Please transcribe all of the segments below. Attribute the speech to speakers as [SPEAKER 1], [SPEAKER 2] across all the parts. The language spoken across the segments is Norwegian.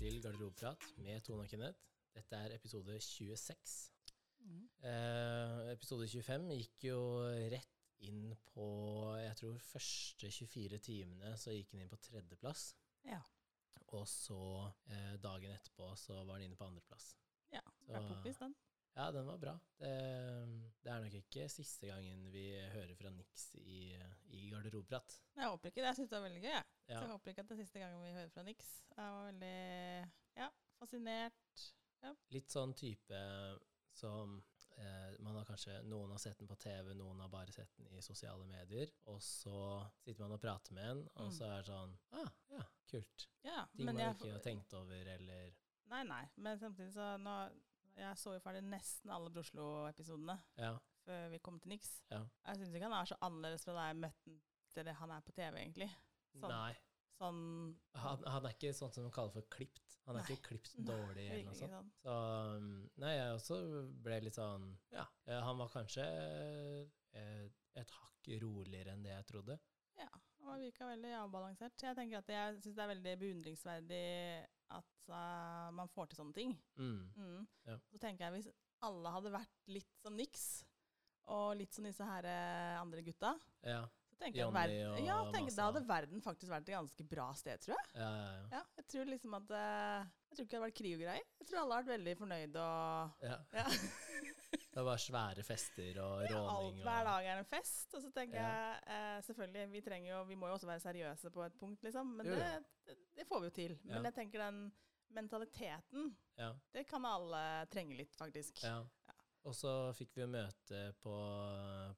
[SPEAKER 1] garderobeprat med Tone og Kenneth. Dette er episode 26. Eh, episode 25 gikk jo rett inn på Jeg tror første 24 timene så gikk den inn på tredjeplass.
[SPEAKER 2] Ja.
[SPEAKER 1] Og så eh, dagen etterpå så var den inne på andreplass.
[SPEAKER 2] ja.
[SPEAKER 1] Så-
[SPEAKER 2] Det er poppis, den.
[SPEAKER 1] Ja, den var bra. Det, det er nok ikke siste gangen vi hører fra Nix i, i garderobeprat.
[SPEAKER 2] Men jeg håper ikke det. Jeg syns det var veldig gøy. jeg. Så
[SPEAKER 1] Ja.
[SPEAKER 2] jeg håper ikke at det er siste gangen vi hører fra Nix. Jeg var veldig ja, fascinert.
[SPEAKER 1] Litt sånn type som eh, man har kanskje, Noen har sett den på TV, noen har bare sett den i sosiale medier. Og så sitter man og prater med en, og
[SPEAKER 2] Mm.
[SPEAKER 1] så er det sånn ah, Ja, kult.
[SPEAKER 2] Ja,
[SPEAKER 1] Ting
[SPEAKER 2] men
[SPEAKER 1] man
[SPEAKER 2] jeg-
[SPEAKER 1] ikke har tenkt over, eller
[SPEAKER 2] Nei, nei. Men samtidig så nå, Jeg så jo ferdig nesten alle Broslo-episodene
[SPEAKER 1] Ja.
[SPEAKER 2] før vi kom til Nix.
[SPEAKER 1] Ja.
[SPEAKER 2] Jeg syns ikke han er så annerledes fra da jeg møtte han til det han er på TV, egentlig. Sånn.
[SPEAKER 1] Nei.
[SPEAKER 2] Sånn
[SPEAKER 1] Han, han er ikke sånn som man kaller for klipt. Han er
[SPEAKER 2] Nei.
[SPEAKER 1] ikke klipt
[SPEAKER 2] Nei,
[SPEAKER 1] dårlig eller
[SPEAKER 2] virker
[SPEAKER 1] noe
[SPEAKER 2] ikke
[SPEAKER 1] sånt.
[SPEAKER 2] sånn.
[SPEAKER 1] Så um, Nei, jeg også ble litt sånn Ja. eh, Han var kanskje eh, et hakk roligere enn det jeg trodde.
[SPEAKER 2] Ja, han virka veldig avbalansert. Jeg tenker at jeg syns det er veldig beundringsverdig at eh, man får til sånne ting.
[SPEAKER 1] Mm.
[SPEAKER 2] Mm.
[SPEAKER 1] Ja.
[SPEAKER 2] Så tenker jeg hvis alle hadde vært litt som Nix, og litt som disse her eh, andre gutta,
[SPEAKER 1] Ja.
[SPEAKER 2] så tenker jeg at
[SPEAKER 1] Johnny
[SPEAKER 2] verden,
[SPEAKER 1] og
[SPEAKER 2] ja, tenker,
[SPEAKER 1] Masa.
[SPEAKER 2] da hadde verden faktisk vært et ganske bra sted, tror jeg.
[SPEAKER 1] Ja, ja, ja.
[SPEAKER 2] Ja, jeg tror liksom at eh, Jeg tror ikke det hadde vært krig og greier. Jeg tror alle hadde vært veldig fornøyd og
[SPEAKER 1] ja.
[SPEAKER 2] ja.
[SPEAKER 1] Det var svære fester og
[SPEAKER 2] Alt
[SPEAKER 1] råning.
[SPEAKER 2] hver
[SPEAKER 1] og,
[SPEAKER 2] dag er en fest. Og så tenker
[SPEAKER 1] Ja.
[SPEAKER 2] jeg eh, selvfølgelig, vi trenger jo Vi må jo også være seriøse på et punkt, liksom. Men
[SPEAKER 1] Jo, jo.
[SPEAKER 2] det, det, det får vi jo til. Men
[SPEAKER 1] Ja.
[SPEAKER 2] jeg tenker den mentaliteten,
[SPEAKER 1] ja,
[SPEAKER 2] det kan alle trenge litt, faktisk.
[SPEAKER 1] ja. Og så fikk vi jo møte på,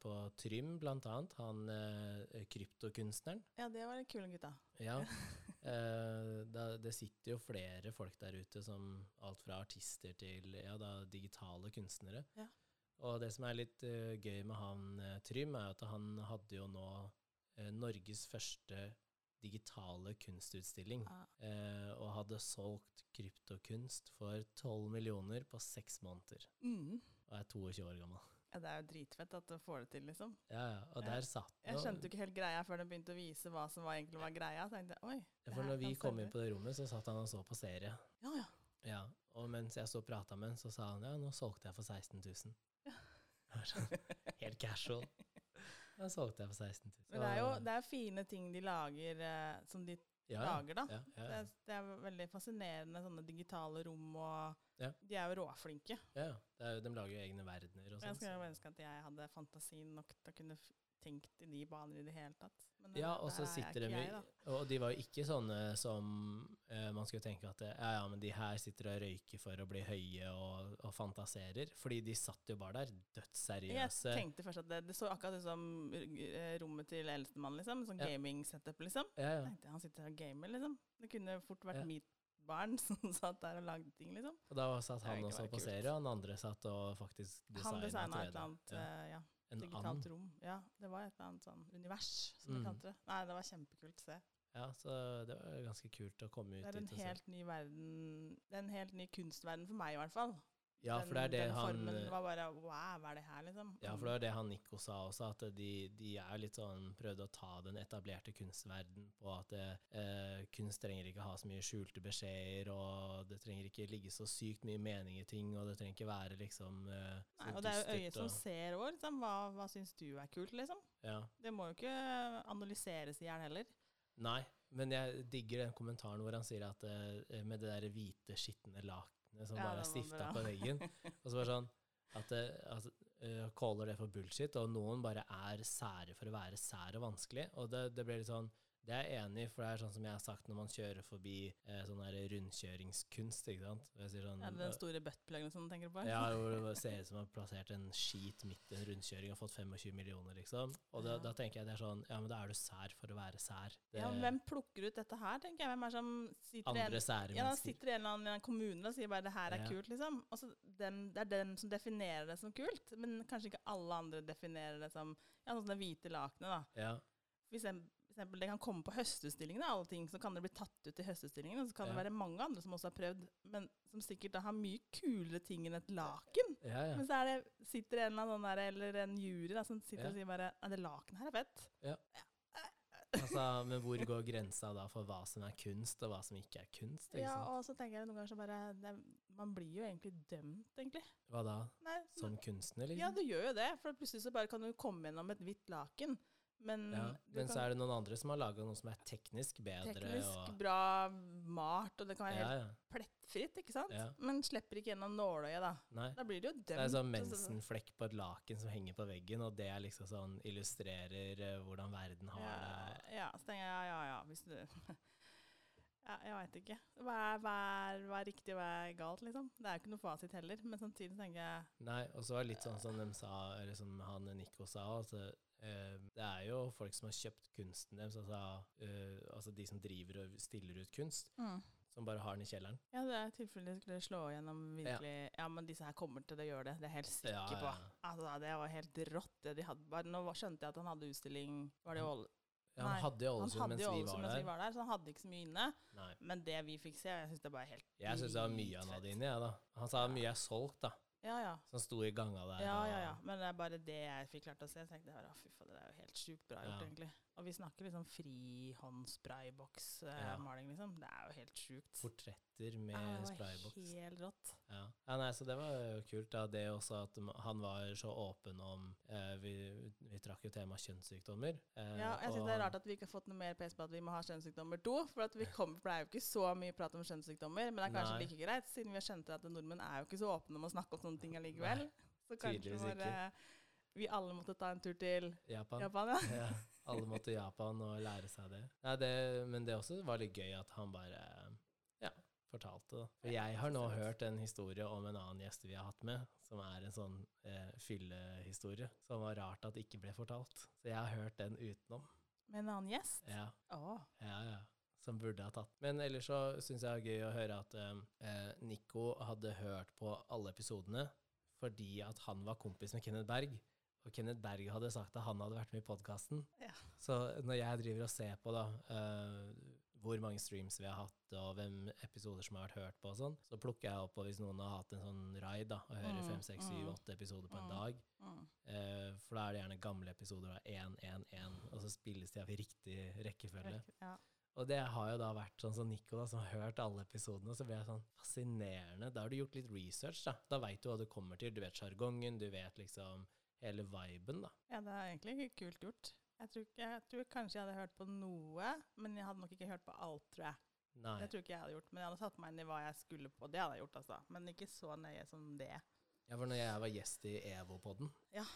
[SPEAKER 1] på Trym, blant annet, han eh, kryptokunstneren.
[SPEAKER 2] Ja, det var kule gutta.
[SPEAKER 1] Ja. Eh, da, det sitter jo flere folk der ute, som alt fra artister til ja, da, digitale kunstnere.
[SPEAKER 2] Ja.
[SPEAKER 1] Og det som er litt eh, gøy med han eh, Trym, er at han hadde jo nå eh, Norges første digitale kunstutstilling.
[SPEAKER 2] Ah.
[SPEAKER 1] eh, og hadde solgt kryptokunst for 12 millioner på seks måneder.
[SPEAKER 2] Mm.
[SPEAKER 1] Og er 22 år gammel.
[SPEAKER 2] Ja, det er jo dritfett at du får det til, liksom.
[SPEAKER 1] Ja, ja. Og
[SPEAKER 2] Ja.
[SPEAKER 1] der satt
[SPEAKER 2] Jeg
[SPEAKER 1] nå-
[SPEAKER 2] skjønte jo ikke helt greia før den begynte å vise hva som var, egentlig var greia. Så tenkte jeg, oi. det
[SPEAKER 1] For
[SPEAKER 2] her
[SPEAKER 1] når vi
[SPEAKER 2] kan
[SPEAKER 1] kom
[SPEAKER 2] selge.
[SPEAKER 1] inn på det rommet, så satt han og så på serie.
[SPEAKER 2] Ja, ja.
[SPEAKER 1] Ja, Og mens jeg så og prata med han, så sa han ja, nå solgte jeg for 16 000. Jeg var sånn, Helt casual. Da solgte jeg for 16 000.
[SPEAKER 2] Men det er jo det er fine ting de lager, eh, som de
[SPEAKER 1] ja, ja,
[SPEAKER 2] lager, da.
[SPEAKER 1] Ja, ja,
[SPEAKER 2] Det er, det er veldig fascinerende, sånne digitale rom og
[SPEAKER 1] Ja.
[SPEAKER 2] De er jo råflinke.
[SPEAKER 1] ja. Det er, jo- de lager jo egne verdener og
[SPEAKER 2] Jeg
[SPEAKER 1] sånn.
[SPEAKER 2] skulle jo
[SPEAKER 1] så-
[SPEAKER 2] ønske at jeg hadde fantasi nok til å kunne f- tenkt i de baner i det hele tatt. Men
[SPEAKER 1] Ja,
[SPEAKER 2] eh,
[SPEAKER 1] og
[SPEAKER 2] der
[SPEAKER 1] så
[SPEAKER 2] er jeg
[SPEAKER 1] sitter de
[SPEAKER 2] ikke
[SPEAKER 1] i
[SPEAKER 2] jeg, da.
[SPEAKER 1] Og de var jo ikke sånne som eh, man skulle tenke at eh, ja, ja, men de her sitter og røyker for å bli høye og, og fantaserer. Fordi de satt jo bare der
[SPEAKER 2] Jeg
[SPEAKER 1] dødsseriøse.
[SPEAKER 2] tenkte først at det, det så akkurat ut som eh, rommet til eldstemann, liksom. Sånn
[SPEAKER 1] Ja.
[SPEAKER 2] gaming-setup, liksom.
[SPEAKER 1] Ja, ja.
[SPEAKER 2] Jeg tenkte, han sitter og gamer, liksom. Det kunne fort vært
[SPEAKER 1] Ja.
[SPEAKER 2] mitt barn som satt der og lagde ting, liksom.
[SPEAKER 1] Og da satt
[SPEAKER 2] Det
[SPEAKER 1] han
[SPEAKER 2] kan
[SPEAKER 1] og
[SPEAKER 2] ikke
[SPEAKER 1] så
[SPEAKER 2] være
[SPEAKER 1] på
[SPEAKER 2] kult.
[SPEAKER 1] serie, og han andre satt og faktisk
[SPEAKER 2] Han
[SPEAKER 1] designet
[SPEAKER 2] designa et
[SPEAKER 1] 3D.
[SPEAKER 2] eller annet
[SPEAKER 1] Ja.
[SPEAKER 2] eh, ja,
[SPEAKER 1] En and.
[SPEAKER 2] digitalt rom. Ja, det var et eller annet sånn univers, som
[SPEAKER 1] Mm.
[SPEAKER 2] de kalte det. Nei, det var kjempekult å se.
[SPEAKER 1] Ja, så det var ganske kult å komme ut
[SPEAKER 2] Det er en
[SPEAKER 1] dit og se.
[SPEAKER 2] helt ny verden Det er en helt ny kunstverden for meg, i hvert fall.
[SPEAKER 1] Ja, for det er
[SPEAKER 2] den,
[SPEAKER 1] det
[SPEAKER 2] den
[SPEAKER 1] han eh,
[SPEAKER 2] formen var bare Wow, hva er det her, liksom?
[SPEAKER 1] ja, for det var det han Nico sa også, at de, de er litt sånn prøvde å ta den etablerte kunstverden på at eh, kunst trenger ikke ha så mye skjulte beskjeder, og det trenger ikke ligge så sykt mye mening i ting, og det trenger ikke være liksom eh, så
[SPEAKER 2] Nei, og det er jo øyet
[SPEAKER 1] dystert
[SPEAKER 2] som
[SPEAKER 1] og-
[SPEAKER 2] ser òg. Liksom. Hva, hva syns du er kult, liksom?
[SPEAKER 1] ja.
[SPEAKER 2] Det må jo ikke analyseres i hjel heller.
[SPEAKER 1] Mm, Nei, men jeg digger den kommentaren hvor han sier at eh, med det der hvite, skitne lakenet som
[SPEAKER 2] Ja,
[SPEAKER 1] bare er
[SPEAKER 2] den var
[SPEAKER 1] stifta
[SPEAKER 2] bra.
[SPEAKER 1] på veggen, og så bare sånn at, eh, at eh, caller det for bullshit, og noen bare er sære for å være sær og vanskelig, og det, det blir litt sånn det er jeg enig i, for det er sånn som jeg har sagt når man kjører forbi eh, sånn der rundkjøringskunst, ikke sant. Og Jeg sier sånn, eh,
[SPEAKER 2] Ja, den store buttpluggen som du tenker på?
[SPEAKER 1] ja, hvor det bare ser ut som man har plassert en skit midt i en rundkjøring og fått 25 millioner, liksom. Og da,
[SPEAKER 2] Ja.
[SPEAKER 1] da tenker jeg det er sånn, ja, men da er du sær for å være sær. Det,
[SPEAKER 2] Ja, men hvem plukker ut dette her, tenker jeg. Hvem er det som sitter i en-
[SPEAKER 1] andre sære
[SPEAKER 2] ja, da
[SPEAKER 1] mennesker.
[SPEAKER 2] sitter i en eller annen i en kommune og sier bare 'det her er
[SPEAKER 1] Ja.
[SPEAKER 2] kult', liksom. Og så dem, det er dem som definerer det som kult, men kanskje ikke alle andre definerer det som ja, sånn som det hvite lakenet, da.
[SPEAKER 1] Ja,
[SPEAKER 2] For eksempel, for eksempel, det kan komme på høstutstillingene, alle ting, så kan det bli tatt ut i høstutstillingene, og så kan det
[SPEAKER 1] Ja.
[SPEAKER 2] være mange andre som også har prøvd, men som sikkert da har mye kulere ting enn et laken.
[SPEAKER 1] ja, ja.
[SPEAKER 2] Men så er det, sitter sånn det en eller annen der, eller en jury da, som sitter
[SPEAKER 1] Ja.
[SPEAKER 2] og sier bare, «Nei, det laken her er fett.
[SPEAKER 1] Ja. Altså, men hvor går grensa da for hva som er kunst, og hva som ikke er kunst? Ikke
[SPEAKER 2] Ja,
[SPEAKER 1] sant?
[SPEAKER 2] og så tenker jeg noen ganger så bare det, er- Man blir jo egentlig dømt, egentlig.
[SPEAKER 1] Hva da?
[SPEAKER 2] Nei,
[SPEAKER 1] Som kunstner,
[SPEAKER 2] ja,
[SPEAKER 1] liksom?
[SPEAKER 2] du gjør jo det. For plutselig så bare kan du komme gjennom et hvitt laken. Men,
[SPEAKER 1] Ja,
[SPEAKER 2] mm, du
[SPEAKER 1] men
[SPEAKER 2] kan-
[SPEAKER 1] så er det noen andre som har laga noe som er teknisk bedre.
[SPEAKER 2] teknisk
[SPEAKER 1] og,
[SPEAKER 2] bra malt, og det kan være
[SPEAKER 1] ja,
[SPEAKER 2] helt
[SPEAKER 1] ja.
[SPEAKER 2] plettfritt, ikke sant?
[SPEAKER 1] Ja.
[SPEAKER 2] Men slipper ikke gjennom nåløyet, da.
[SPEAKER 1] Nei.
[SPEAKER 2] Da blir du jo
[SPEAKER 1] Det
[SPEAKER 2] dømt. altså.
[SPEAKER 1] er sånn
[SPEAKER 2] og så-
[SPEAKER 1] mensenflekk på et laken som henger på veggen, og det er liksom sånn illustrerer eh, hvordan verden har
[SPEAKER 2] Ja,
[SPEAKER 1] det.
[SPEAKER 2] ja, så tenker jeg, ja, ja, ja, hvis du... Ja, jeg vet ikke. Hva er, hva, er, hva er riktig og hva er galt, liksom? Det er jo ikke noe fasit heller, men samtidig tenker jeg...
[SPEAKER 1] Nei, og så er det litt sånn som de sa, eller som han Nico sa, altså, eh, det er jo folk som har kjøpt kunsten deres, altså, eh, altså de som driver og stiller ut kunst, som bare har den i kjelleren.
[SPEAKER 2] Ja, det er tilfellet skulle slå gjennom virkelig... Ja. men disse her kommer til å gjøre det, det er jeg helt sikker
[SPEAKER 1] Ja,
[SPEAKER 2] på.
[SPEAKER 1] ja.
[SPEAKER 2] Altså, det var helt rått det de hadde. Bare, nå var- skjønte jeg at han hadde utstilling... Var det i Ål-
[SPEAKER 1] Ja, han
[SPEAKER 2] Nei,
[SPEAKER 1] hadde jo
[SPEAKER 2] Han
[SPEAKER 1] Ålesund
[SPEAKER 2] hadde
[SPEAKER 1] mens
[SPEAKER 2] jo
[SPEAKER 1] vi var
[SPEAKER 2] Ålesund mens vi
[SPEAKER 1] der.
[SPEAKER 2] var der, så han hadde ikke så mye inne.
[SPEAKER 1] Nei.
[SPEAKER 2] Men det vi fikk se, jeg synes det bare er helt...
[SPEAKER 1] Jeg syns det var mye han hadde inni, jeg, da. Han sa mye er solgt, da.
[SPEAKER 2] Ja, ja.
[SPEAKER 1] Som sto i ganga der.
[SPEAKER 2] Ja, ja, ja.
[SPEAKER 1] og-
[SPEAKER 2] Men det er bare det jeg fikk klart å se. Jeg tenkte, det, her, å, fy faen, det er jo helt sjukt bra gjort,
[SPEAKER 1] Ja.
[SPEAKER 2] egentlig. Og vi snakker liksom
[SPEAKER 1] Ja.
[SPEAKER 2] frihåndsprayboks-maling, liksom. Det er jo helt sjukt.
[SPEAKER 1] Portretter
[SPEAKER 2] Ja, det
[SPEAKER 1] med
[SPEAKER 2] var
[SPEAKER 1] sprayboks.
[SPEAKER 2] Helt rått.
[SPEAKER 1] Ja. ja, nei, så det var jo kult. da, Det også at m- han var så åpen om eh, Vi, vi trakk jo tema kjønnssykdommer. eh,
[SPEAKER 2] Ja, jeg syns
[SPEAKER 1] og
[SPEAKER 2] det er rart at vi ikke har fått noe mer pes på at vi må ha kjønnssykdommer to. For at vi kom, det er jo ikke så mye prat om kjønnssykdommer, men det er kanskje
[SPEAKER 1] Nei.
[SPEAKER 2] like greit, siden vi har skjønt at nordmenn er jo ikke så åpne om å snakke om sånne ting allikevel.
[SPEAKER 1] Nei,
[SPEAKER 2] Så kanskje
[SPEAKER 1] tydeligvis
[SPEAKER 2] bare vi alle måtte ta en tur til
[SPEAKER 1] Japan.
[SPEAKER 2] Japan, ja.
[SPEAKER 1] ja. Alle måtte til Japan og lære seg det. Nei, det. Men det også var litt gøy at han bare ja, fortalte det. For jeg har nå hørt en historie om en annen gjest vi har hatt med, som er en sånn eh, fyllehistorie. Som var rart at ikke ble fortalt. Så jeg har hørt den utenom.
[SPEAKER 2] Med en annen gjest.
[SPEAKER 1] Ja.
[SPEAKER 2] Å.
[SPEAKER 1] Ja, ja. Som burde ha tatt. Men ellers så syns jeg det er gøy å høre at eh, eh, Nico hadde hørt på alle episodene fordi at han var kompis med Kenneth Berg. Og Kenneth Berg hadde sagt at han hadde vært med i podkasten.
[SPEAKER 2] Ja.
[SPEAKER 1] Så når jeg driver og ser på da, eh, hvor mange streams vi har hatt, og hvem episoder som har vært hørt på, og sånn, så plukker jeg opp og hvis noen har hatt en sånn raid da, og hører
[SPEAKER 2] Mm,
[SPEAKER 1] fem, seks, syv,
[SPEAKER 2] mm,
[SPEAKER 1] åtte episoder på en
[SPEAKER 2] mm.
[SPEAKER 1] dag,
[SPEAKER 2] Mm.
[SPEAKER 1] eh, for da er det gjerne gamle episoder av 1, 1, 1, og så spilles de av i riktig rekkefølge.
[SPEAKER 2] Ja.
[SPEAKER 1] Og det har jo da vært sånn som Nico, da, som har hørt alle episodene, og så ble jeg sånn fascinerende. Da har du gjort litt research, da. Da veit du hva du kommer til. Du vet sjargongen, du vet liksom hele viben, da.
[SPEAKER 2] Ja, det er egentlig ikke kult gjort. Jeg tror, ikke, jeg tror kanskje jeg hadde hørt på noe, men jeg hadde nok ikke hørt på alt, tror jeg.
[SPEAKER 1] Nei.
[SPEAKER 2] Det tror ikke jeg hadde gjort, men jeg hadde satt meg inn i hva jeg skulle på. Det hadde jeg gjort, altså. Men ikke så nøye som det.
[SPEAKER 1] Ja, for når jeg var gjest i EVO-podden,
[SPEAKER 2] Ja.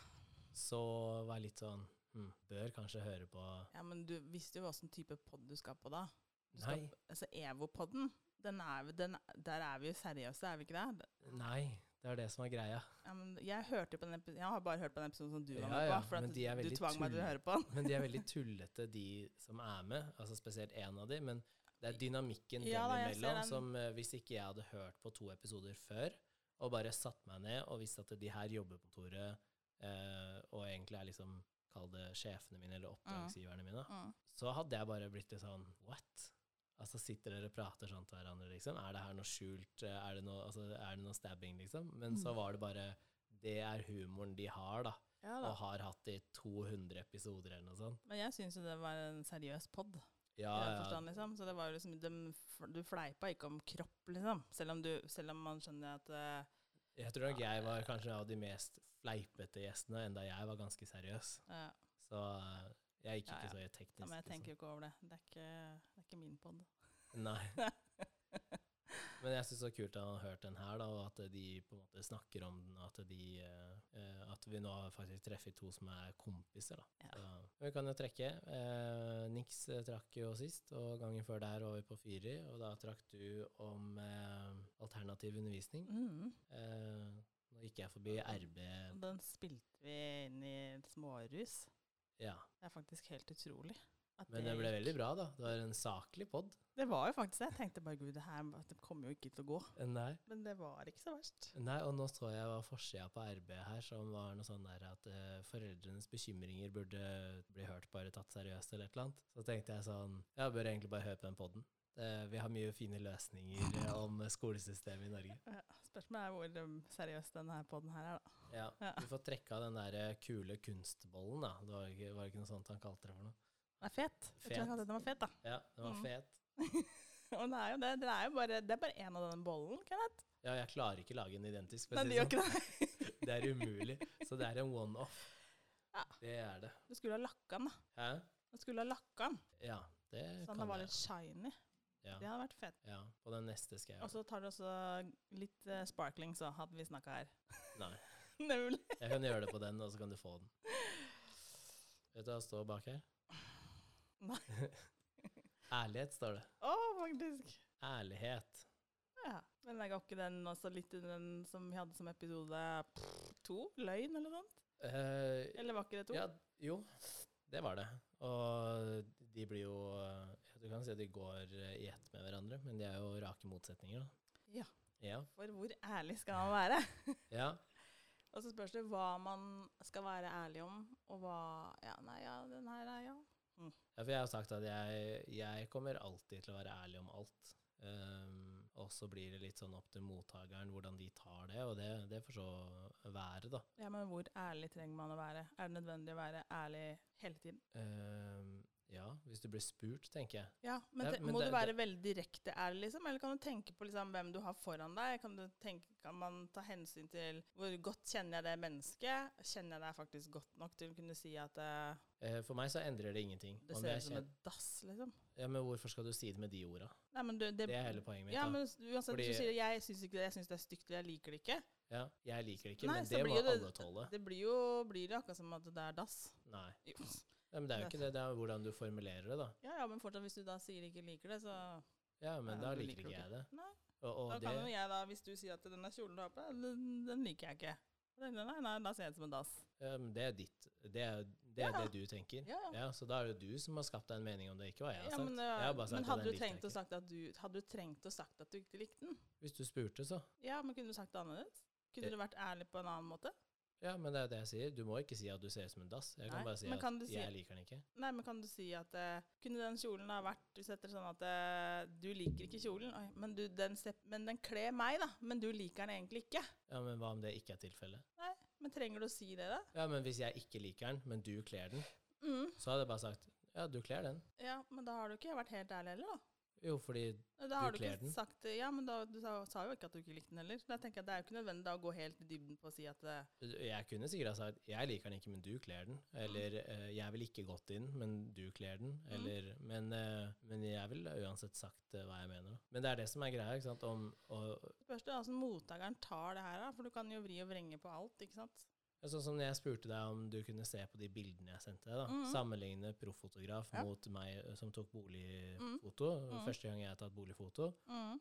[SPEAKER 1] så var jeg litt sånn hm, Bør kanskje høre på
[SPEAKER 2] Ja, men du visste jo åssen type pod du skal på da. Du skal
[SPEAKER 1] Nei.
[SPEAKER 2] på- Altså EVO-podden, den er, vi- den, der er vi jo seriøse, er vi ikke det? Det-
[SPEAKER 1] Nei. Det er det som er greia.
[SPEAKER 2] Ja, men jeg hørte jo på den epi- Jeg har bare hørt på den episoden som du var
[SPEAKER 1] Ja,
[SPEAKER 2] med på,
[SPEAKER 1] ja,
[SPEAKER 2] for at
[SPEAKER 1] men de er
[SPEAKER 2] du
[SPEAKER 1] veldig
[SPEAKER 2] tvang meg til å
[SPEAKER 1] tull.
[SPEAKER 2] høre på den.
[SPEAKER 1] Men de er veldig tullete, de som er med. Altså spesielt én av de. Men det er dynamikken
[SPEAKER 2] Ja, da,
[SPEAKER 1] dem
[SPEAKER 2] jeg ser
[SPEAKER 1] imellom
[SPEAKER 2] den.
[SPEAKER 1] som eh, hvis ikke jeg hadde hørt på to episoder før, og bare satt meg ned og visste at de her jobber på kontoret, eh, og egentlig er liksom Kall det sjefene mine eller oppdragsgiverne mine.
[SPEAKER 2] Mm.
[SPEAKER 1] Så hadde jeg bare blitt litt sånn What? Altså Sitter dere og prater sånn til hverandre, liksom? Er det her noe skjult? Eh, Er det noe, altså, er det noe stabbing, liksom? Men
[SPEAKER 2] Mm.
[SPEAKER 1] så var det bare Det er humoren de har, da.
[SPEAKER 2] Ja
[SPEAKER 1] Og
[SPEAKER 2] da.
[SPEAKER 1] har hatt i 200 episoder eller noe sånt.
[SPEAKER 2] Men jeg syns jo det var en seriøs pod.
[SPEAKER 1] Ja,
[SPEAKER 2] i den
[SPEAKER 1] ja.
[SPEAKER 2] forstand, liksom. Så det var jo liksom dem f- Du fleipa ikke om kropp, liksom. Selv om, du, selv om man skjønner at eh,
[SPEAKER 1] Jeg tror nok jeg var kanskje av de mest fleipete gjestene, enda jeg var ganske seriøs.
[SPEAKER 2] eh,
[SPEAKER 1] Så eh, jeg gikk ikke
[SPEAKER 2] Ja, ja.
[SPEAKER 1] så teknisk.
[SPEAKER 2] ja, Men jeg
[SPEAKER 1] liksom.
[SPEAKER 2] tenker jo ikke over det. Det er ikke, det er ikke min pod.
[SPEAKER 1] Nei. Men jeg syns det er kult at han har hørt den her, da, og at de på en måte snakker om den, og at, de, eh, eh, at vi nå faktisk treffer to som er kompiser. Da.
[SPEAKER 2] Ja.
[SPEAKER 1] Så, vi kan jo trekke. Eh, Nix eh, trakk jo sist, og gangen før der var vi på Fyri, og da trakk du om eh, alternativ undervisning.
[SPEAKER 2] Mm.
[SPEAKER 1] Eh, nå gikk jeg forbi RB
[SPEAKER 2] Og Den spilte vi inn i smårus.
[SPEAKER 1] Ja,
[SPEAKER 2] Det er faktisk helt utrolig. at
[SPEAKER 1] men det ble
[SPEAKER 2] gikk.
[SPEAKER 1] veldig bra, da. Det var en saklig pod.
[SPEAKER 2] Det var jo faktisk det. Jeg tenkte bare gud, det her det kommer jo ikke til å gå.
[SPEAKER 1] Nei.
[SPEAKER 2] Men det var ikke så verst.
[SPEAKER 1] Nei, og nå så jeg var forsida på RB her, som var noe sånn der at eh, foreldrenes bekymringer burde bli hørt, bare tatt seriøst, eller et eller annet. Så tenkte jeg sånn Jeg bør egentlig bare høre på den poden. vi har mye fine løsninger eh, om skolesystemet i Norge.
[SPEAKER 2] Ja, Spørsmålet er hvor um, seriøs denne poden her er, da.
[SPEAKER 1] Ja.
[SPEAKER 2] Ja.
[SPEAKER 1] Du får trekke av den der eh, kule kunstbollen, da. Det var ikke, var ikke noe sånt han kalte det for noe.
[SPEAKER 2] Den er fet. Jeg tror jeg kan si den var fet, da.
[SPEAKER 1] Ja, den var
[SPEAKER 2] Mm.
[SPEAKER 1] fet.
[SPEAKER 2] Og det er jo det. Det er jo bare, det er bare en av denne bollen. Kan jeg?
[SPEAKER 1] Ja, jeg klarer ikke lage den identisk. for å
[SPEAKER 2] Nei,
[SPEAKER 1] si
[SPEAKER 2] det gjør
[SPEAKER 1] det
[SPEAKER 2] ikke det.
[SPEAKER 1] sånn. Det er umulig. Så det er en one-off.
[SPEAKER 2] Ja.
[SPEAKER 1] Det er det.
[SPEAKER 2] Du skulle ha lakka den, da.
[SPEAKER 1] Hæ?
[SPEAKER 2] Du skulle ha lakka den,
[SPEAKER 1] Ja, det kan
[SPEAKER 2] så den Sånn, var
[SPEAKER 1] jeg.
[SPEAKER 2] litt shiny.
[SPEAKER 1] Ja,
[SPEAKER 2] Det hadde vært fett.
[SPEAKER 1] ja. På den neste skal jeg
[SPEAKER 2] Og så tar du også litt eh, sparkling, så hadde vi snakka her.
[SPEAKER 1] Nei.
[SPEAKER 2] Nemlig.
[SPEAKER 1] Jeg kan gjøre det på den, og så kan du få den. Vet du hva det står bak her?
[SPEAKER 2] Nei.
[SPEAKER 1] Ærlighet står det.
[SPEAKER 2] Å, faktisk.
[SPEAKER 1] Ærlighet.
[SPEAKER 2] Ja. Men jeg ga ikke den også litt i den som vi hadde som episode pff, to? Løgn, eller noe sånt?
[SPEAKER 1] Eh,
[SPEAKER 2] Eller var ikke det to?
[SPEAKER 1] ja, jo, det var det. Og de blir jo eh, Du kan si at de går eh, i ett med hverandre, men de er jo rake motsetninger, da.
[SPEAKER 2] Ja.
[SPEAKER 1] Ja.
[SPEAKER 2] For hvor ærlig skal man være?
[SPEAKER 1] ja.
[SPEAKER 2] Og så spørs det hva man skal være ærlig om, og hva Ja, nei, ja, den her er ja.
[SPEAKER 1] Ja, for jeg har sagt at jeg, jeg kommer alltid til å være ærlig om alt. Ehm, og så blir det litt sånn opp til mottakeren hvordan de tar det, og det, det får så være, da.
[SPEAKER 2] Ja, men hvor ærlig trenger man å være? Er det nødvendig å være ærlig hele tiden?
[SPEAKER 1] Ehm, ja, hvis du blir spurt, tenker jeg.
[SPEAKER 2] Ja, men,
[SPEAKER 1] Ja,
[SPEAKER 2] te-
[SPEAKER 1] men
[SPEAKER 2] Må
[SPEAKER 1] det-
[SPEAKER 2] du være veldig direkte ærlig, liksom? Eller kan du tenke på liksom, hvem du har foran deg? Kan, du tenke, kan man ta hensyn til hvor godt kjenner jeg det mennesket? Kjenner jeg deg faktisk godt nok til å kunne si at eh,
[SPEAKER 1] Eh, for meg så endrer det ingenting.
[SPEAKER 2] det
[SPEAKER 1] Om
[SPEAKER 2] ser
[SPEAKER 1] jeg
[SPEAKER 2] ut som
[SPEAKER 1] kjen-
[SPEAKER 2] et dass, liksom?
[SPEAKER 1] ja, men hvorfor skal du si det med de orda?
[SPEAKER 2] Nei, men du, det,
[SPEAKER 1] Det er hele poenget mitt.
[SPEAKER 2] ja,
[SPEAKER 1] da.
[SPEAKER 2] men s- uansett,
[SPEAKER 1] Fordi-
[SPEAKER 2] hvis du sier jeg syns ikke det, jeg syns det er stygt, eller jeg liker det ikke.
[SPEAKER 1] ja, jeg liker det ikke,
[SPEAKER 2] Nei,
[SPEAKER 1] men
[SPEAKER 2] så
[SPEAKER 1] det
[SPEAKER 2] blir
[SPEAKER 1] må
[SPEAKER 2] jo det-
[SPEAKER 1] alle tåle.
[SPEAKER 2] Det blir jo blir det akkurat som at det er dass.
[SPEAKER 1] Nei.
[SPEAKER 2] Jo.
[SPEAKER 1] Ja, men det er jo ikke det. Det er jo hvordan du formulerer det, da.
[SPEAKER 2] Ja, ja, men fortsatt, hvis du da sier ikke liker det, så
[SPEAKER 1] Ja, men
[SPEAKER 2] Ja,
[SPEAKER 1] da
[SPEAKER 2] du
[SPEAKER 1] liker
[SPEAKER 2] liker
[SPEAKER 1] ikke jeg
[SPEAKER 2] det
[SPEAKER 1] det.
[SPEAKER 2] Nei.
[SPEAKER 1] Og, og
[SPEAKER 2] Da
[SPEAKER 1] det,
[SPEAKER 2] kan jo jeg da, hvis du sier at denne kjolen du har på deg, den, den liker jeg ikke. Nei, nei, nei, da ser jeg ut som en dass.
[SPEAKER 1] ja, men det er ditt. Det er det, er
[SPEAKER 2] Ja.
[SPEAKER 1] det du tenker.
[SPEAKER 2] Ja, ja.
[SPEAKER 1] Ja, så da er det jo du som har skapt deg en mening om det, ikke hva jeg har
[SPEAKER 2] Ja,
[SPEAKER 1] sagt.
[SPEAKER 2] men, det
[SPEAKER 1] jeg
[SPEAKER 2] var-
[SPEAKER 1] har bare sagt
[SPEAKER 2] men
[SPEAKER 1] at
[SPEAKER 2] hadde
[SPEAKER 1] den
[SPEAKER 2] du
[SPEAKER 1] likte jeg
[SPEAKER 2] trengt å
[SPEAKER 1] ikke.
[SPEAKER 2] sagt at du hadde du trengt å sagt at du ikke likte den?
[SPEAKER 1] Hvis du spurte, så.
[SPEAKER 2] Ja, men kunne du sagt det annerledes? Kunne
[SPEAKER 1] Det-
[SPEAKER 2] du vært ærlig på en annen måte?
[SPEAKER 1] Ja, men det er det jeg sier. Du må ikke si at du ser ut som en dass. Jeg kan
[SPEAKER 2] Nei,
[SPEAKER 1] bare si
[SPEAKER 2] men
[SPEAKER 1] at
[SPEAKER 2] kan du si-
[SPEAKER 1] jeg liker den ikke.
[SPEAKER 2] Nei, men kan du si at eh, Kunne den kjolen ha vært Du setter sånn at eh, du liker ikke kjolen, oi, men, du, den, sep- men den kler meg, da. Men du liker den egentlig ikke.
[SPEAKER 1] Ja, men hva om det ikke er tilfellet?
[SPEAKER 2] Men trenger du å si det, da?
[SPEAKER 1] Ja, men hvis jeg ikke liker den, men du kler den,
[SPEAKER 2] Mm,
[SPEAKER 1] så hadde jeg bare sagt ja, du kler den.
[SPEAKER 2] ja, men da har du ikke vært helt ærlig heller, da.
[SPEAKER 1] Jo, fordi
[SPEAKER 2] Da har
[SPEAKER 1] Du
[SPEAKER 2] du,
[SPEAKER 1] kler
[SPEAKER 2] ikke
[SPEAKER 1] den.
[SPEAKER 2] sagt det. Ja, men da, du sa, sa jo ikke at du ikke likte den heller. Da tenker jeg at Det er jo ikke nødvendig da å gå helt i dybden på å si at eh,
[SPEAKER 1] jeg kunne sikkert ha sagt jeg liker den ikke, men du kler den. Eller eh, jeg vil ikke gått inn, men du kler den. Eller, men, eh, men jeg ville uansett sagt eh, hva jeg mener. da. Men det er det som er greia, ikke sant. Om, og,
[SPEAKER 2] Det spørs det hvordan altså mottakeren tar det her, da. For du kan jo vri og vrenge på alt, ikke sant.
[SPEAKER 1] Sånn som når jeg spurte deg om du kunne se på de bildene jeg sendte deg. da,
[SPEAKER 2] Mhm.
[SPEAKER 1] Sammenligne profffotograf
[SPEAKER 2] Ja.
[SPEAKER 1] mot meg eh, som tok boligfoto.
[SPEAKER 2] Mhm.
[SPEAKER 1] Første gang jeg har tatt boligfoto.
[SPEAKER 2] Mm.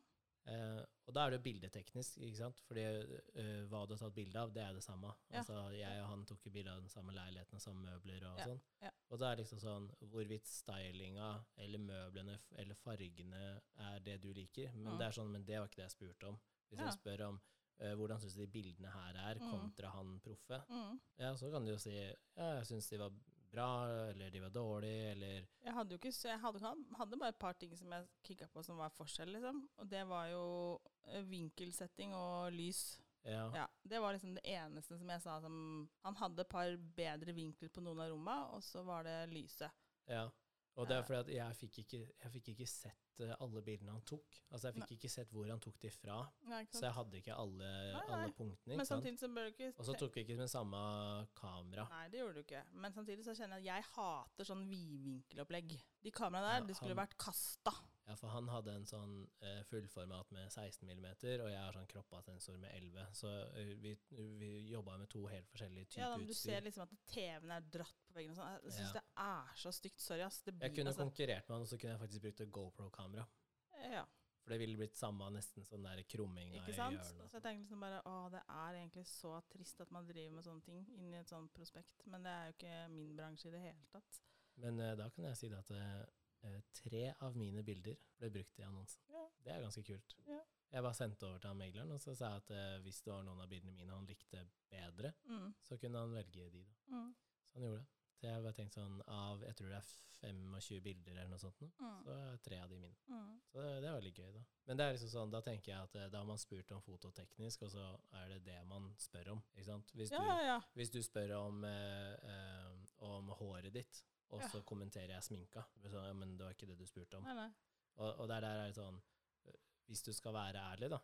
[SPEAKER 1] Eh, og da er det jo bildeteknisk, ikke sant? Fordi eh, hva du har tatt bilde av, det er det samme.
[SPEAKER 2] Ja.
[SPEAKER 1] Altså, jeg og han tok jo bilde av den samme leiligheten og samme møbler og
[SPEAKER 2] Ja,
[SPEAKER 1] sånn.
[SPEAKER 2] ja.
[SPEAKER 1] Og da er det liksom sånn hvorvidt stylinga eller møblene f- eller fargene er det du liker. Men
[SPEAKER 2] Mm.
[SPEAKER 1] det er sånn, men det var ikke det jeg spurte om. Hvis
[SPEAKER 2] Ja.
[SPEAKER 1] jeg spør om eh, hvordan syns du de bildene her er,
[SPEAKER 2] Mm.
[SPEAKER 1] kontra han proffe,
[SPEAKER 2] Mm.
[SPEAKER 1] ja, så kan du jo si ja, jeg syns de var bra, eller de var dårlige, eller
[SPEAKER 2] Jeg hadde jo ikke s- jeg hadde, ikke- hadde bare et par ting som jeg kikka på som var forskjell, liksom. Og det var jo eh, vinkelsetting og lys.
[SPEAKER 1] ja.
[SPEAKER 2] Ja, Det var liksom det eneste som jeg sa som Han hadde et par bedre vinkler på noen av romma, og så var det lyset.
[SPEAKER 1] Ja. Og det
[SPEAKER 2] Ja.
[SPEAKER 1] er fordi at jeg fikk ikke, jeg fikk ikke sett eh, alle bildene han tok. Altså Jeg fikk ikke sett hvor han tok de fra,
[SPEAKER 2] Ja, ikke
[SPEAKER 1] så
[SPEAKER 2] sant?
[SPEAKER 1] jeg hadde ikke alle,
[SPEAKER 2] Nei, nei.
[SPEAKER 1] alle punktene.
[SPEAKER 2] Men
[SPEAKER 1] Ikke sant?
[SPEAKER 2] samtidig så bør du ikke
[SPEAKER 1] Og så
[SPEAKER 2] tre-
[SPEAKER 1] tok vi ikke med samme kamera.
[SPEAKER 2] Nei, det gjorde du ikke. Men samtidig så kjenner jeg at jeg hater sånn vidvinkelopplegg. De kameraene der,
[SPEAKER 1] Ja,
[SPEAKER 2] de skulle
[SPEAKER 1] han-
[SPEAKER 2] vært kasta.
[SPEAKER 1] Ja, For han hadde en sånn eh, fullformat med 16 mm, og jeg har sånn kroppa sensor med 11. Så eh, vi, vi jobba med to helt forskjellige typer
[SPEAKER 2] Ja, da, men du ser
[SPEAKER 1] utstyr.
[SPEAKER 2] liksom at TV-en er dratt på veggen og sånn. Jeg syns
[SPEAKER 1] Ja.
[SPEAKER 2] det er så stygt. Sorry, ass. Det blir
[SPEAKER 1] Jeg kunne
[SPEAKER 2] altså-
[SPEAKER 1] konkurrert med han, og så kunne jeg faktisk brukt et GoPro-kamera.
[SPEAKER 2] Ja.
[SPEAKER 1] For det ville blitt samme nesten sånn der krumminga
[SPEAKER 2] Ikke
[SPEAKER 1] i
[SPEAKER 2] sant?
[SPEAKER 1] hjørnet. og
[SPEAKER 2] Så jeg tenkte liksom bare å, det er egentlig så trist at man driver med sånne ting inni et sånt prospekt. Men det er jo ikke min bransje i det hele tatt.
[SPEAKER 1] Men eh, da kan jeg si det at eh, tre av mine bilder ble brukt i annonsen.
[SPEAKER 2] Ja.
[SPEAKER 1] Det er ganske kult.
[SPEAKER 2] Ja.
[SPEAKER 1] Jeg bare sendte over til han megleren og så sa jeg at eh, hvis det var noen av bildene mine han likte bedre,
[SPEAKER 2] Mm,
[SPEAKER 1] så kunne han velge de. da.
[SPEAKER 2] mm,
[SPEAKER 1] Så han gjorde det. Så jeg bare tenkte sånn av jeg tror det er 25 bilder eller noe sånt, nå,
[SPEAKER 2] mm,
[SPEAKER 1] så er tre av de mine.
[SPEAKER 2] mm.
[SPEAKER 1] Så det, det er veldig gøy, da. Men det er liksom sånn, da tenker jeg at eh, da har man spurt om fototeknisk, og så er det det man spør om. ikke sant? Hvis
[SPEAKER 2] Ja,
[SPEAKER 1] du
[SPEAKER 2] ja, ja.
[SPEAKER 1] hvis du spør om, eh, eh, om håret ditt, og
[SPEAKER 2] Ja.
[SPEAKER 1] så kommenterer jeg sminka. Så, ja, men det var ikke det du spurte om.
[SPEAKER 2] Nei, nei.
[SPEAKER 1] Og, og der, der er det sånn øh, Hvis du skal være ærlig, da,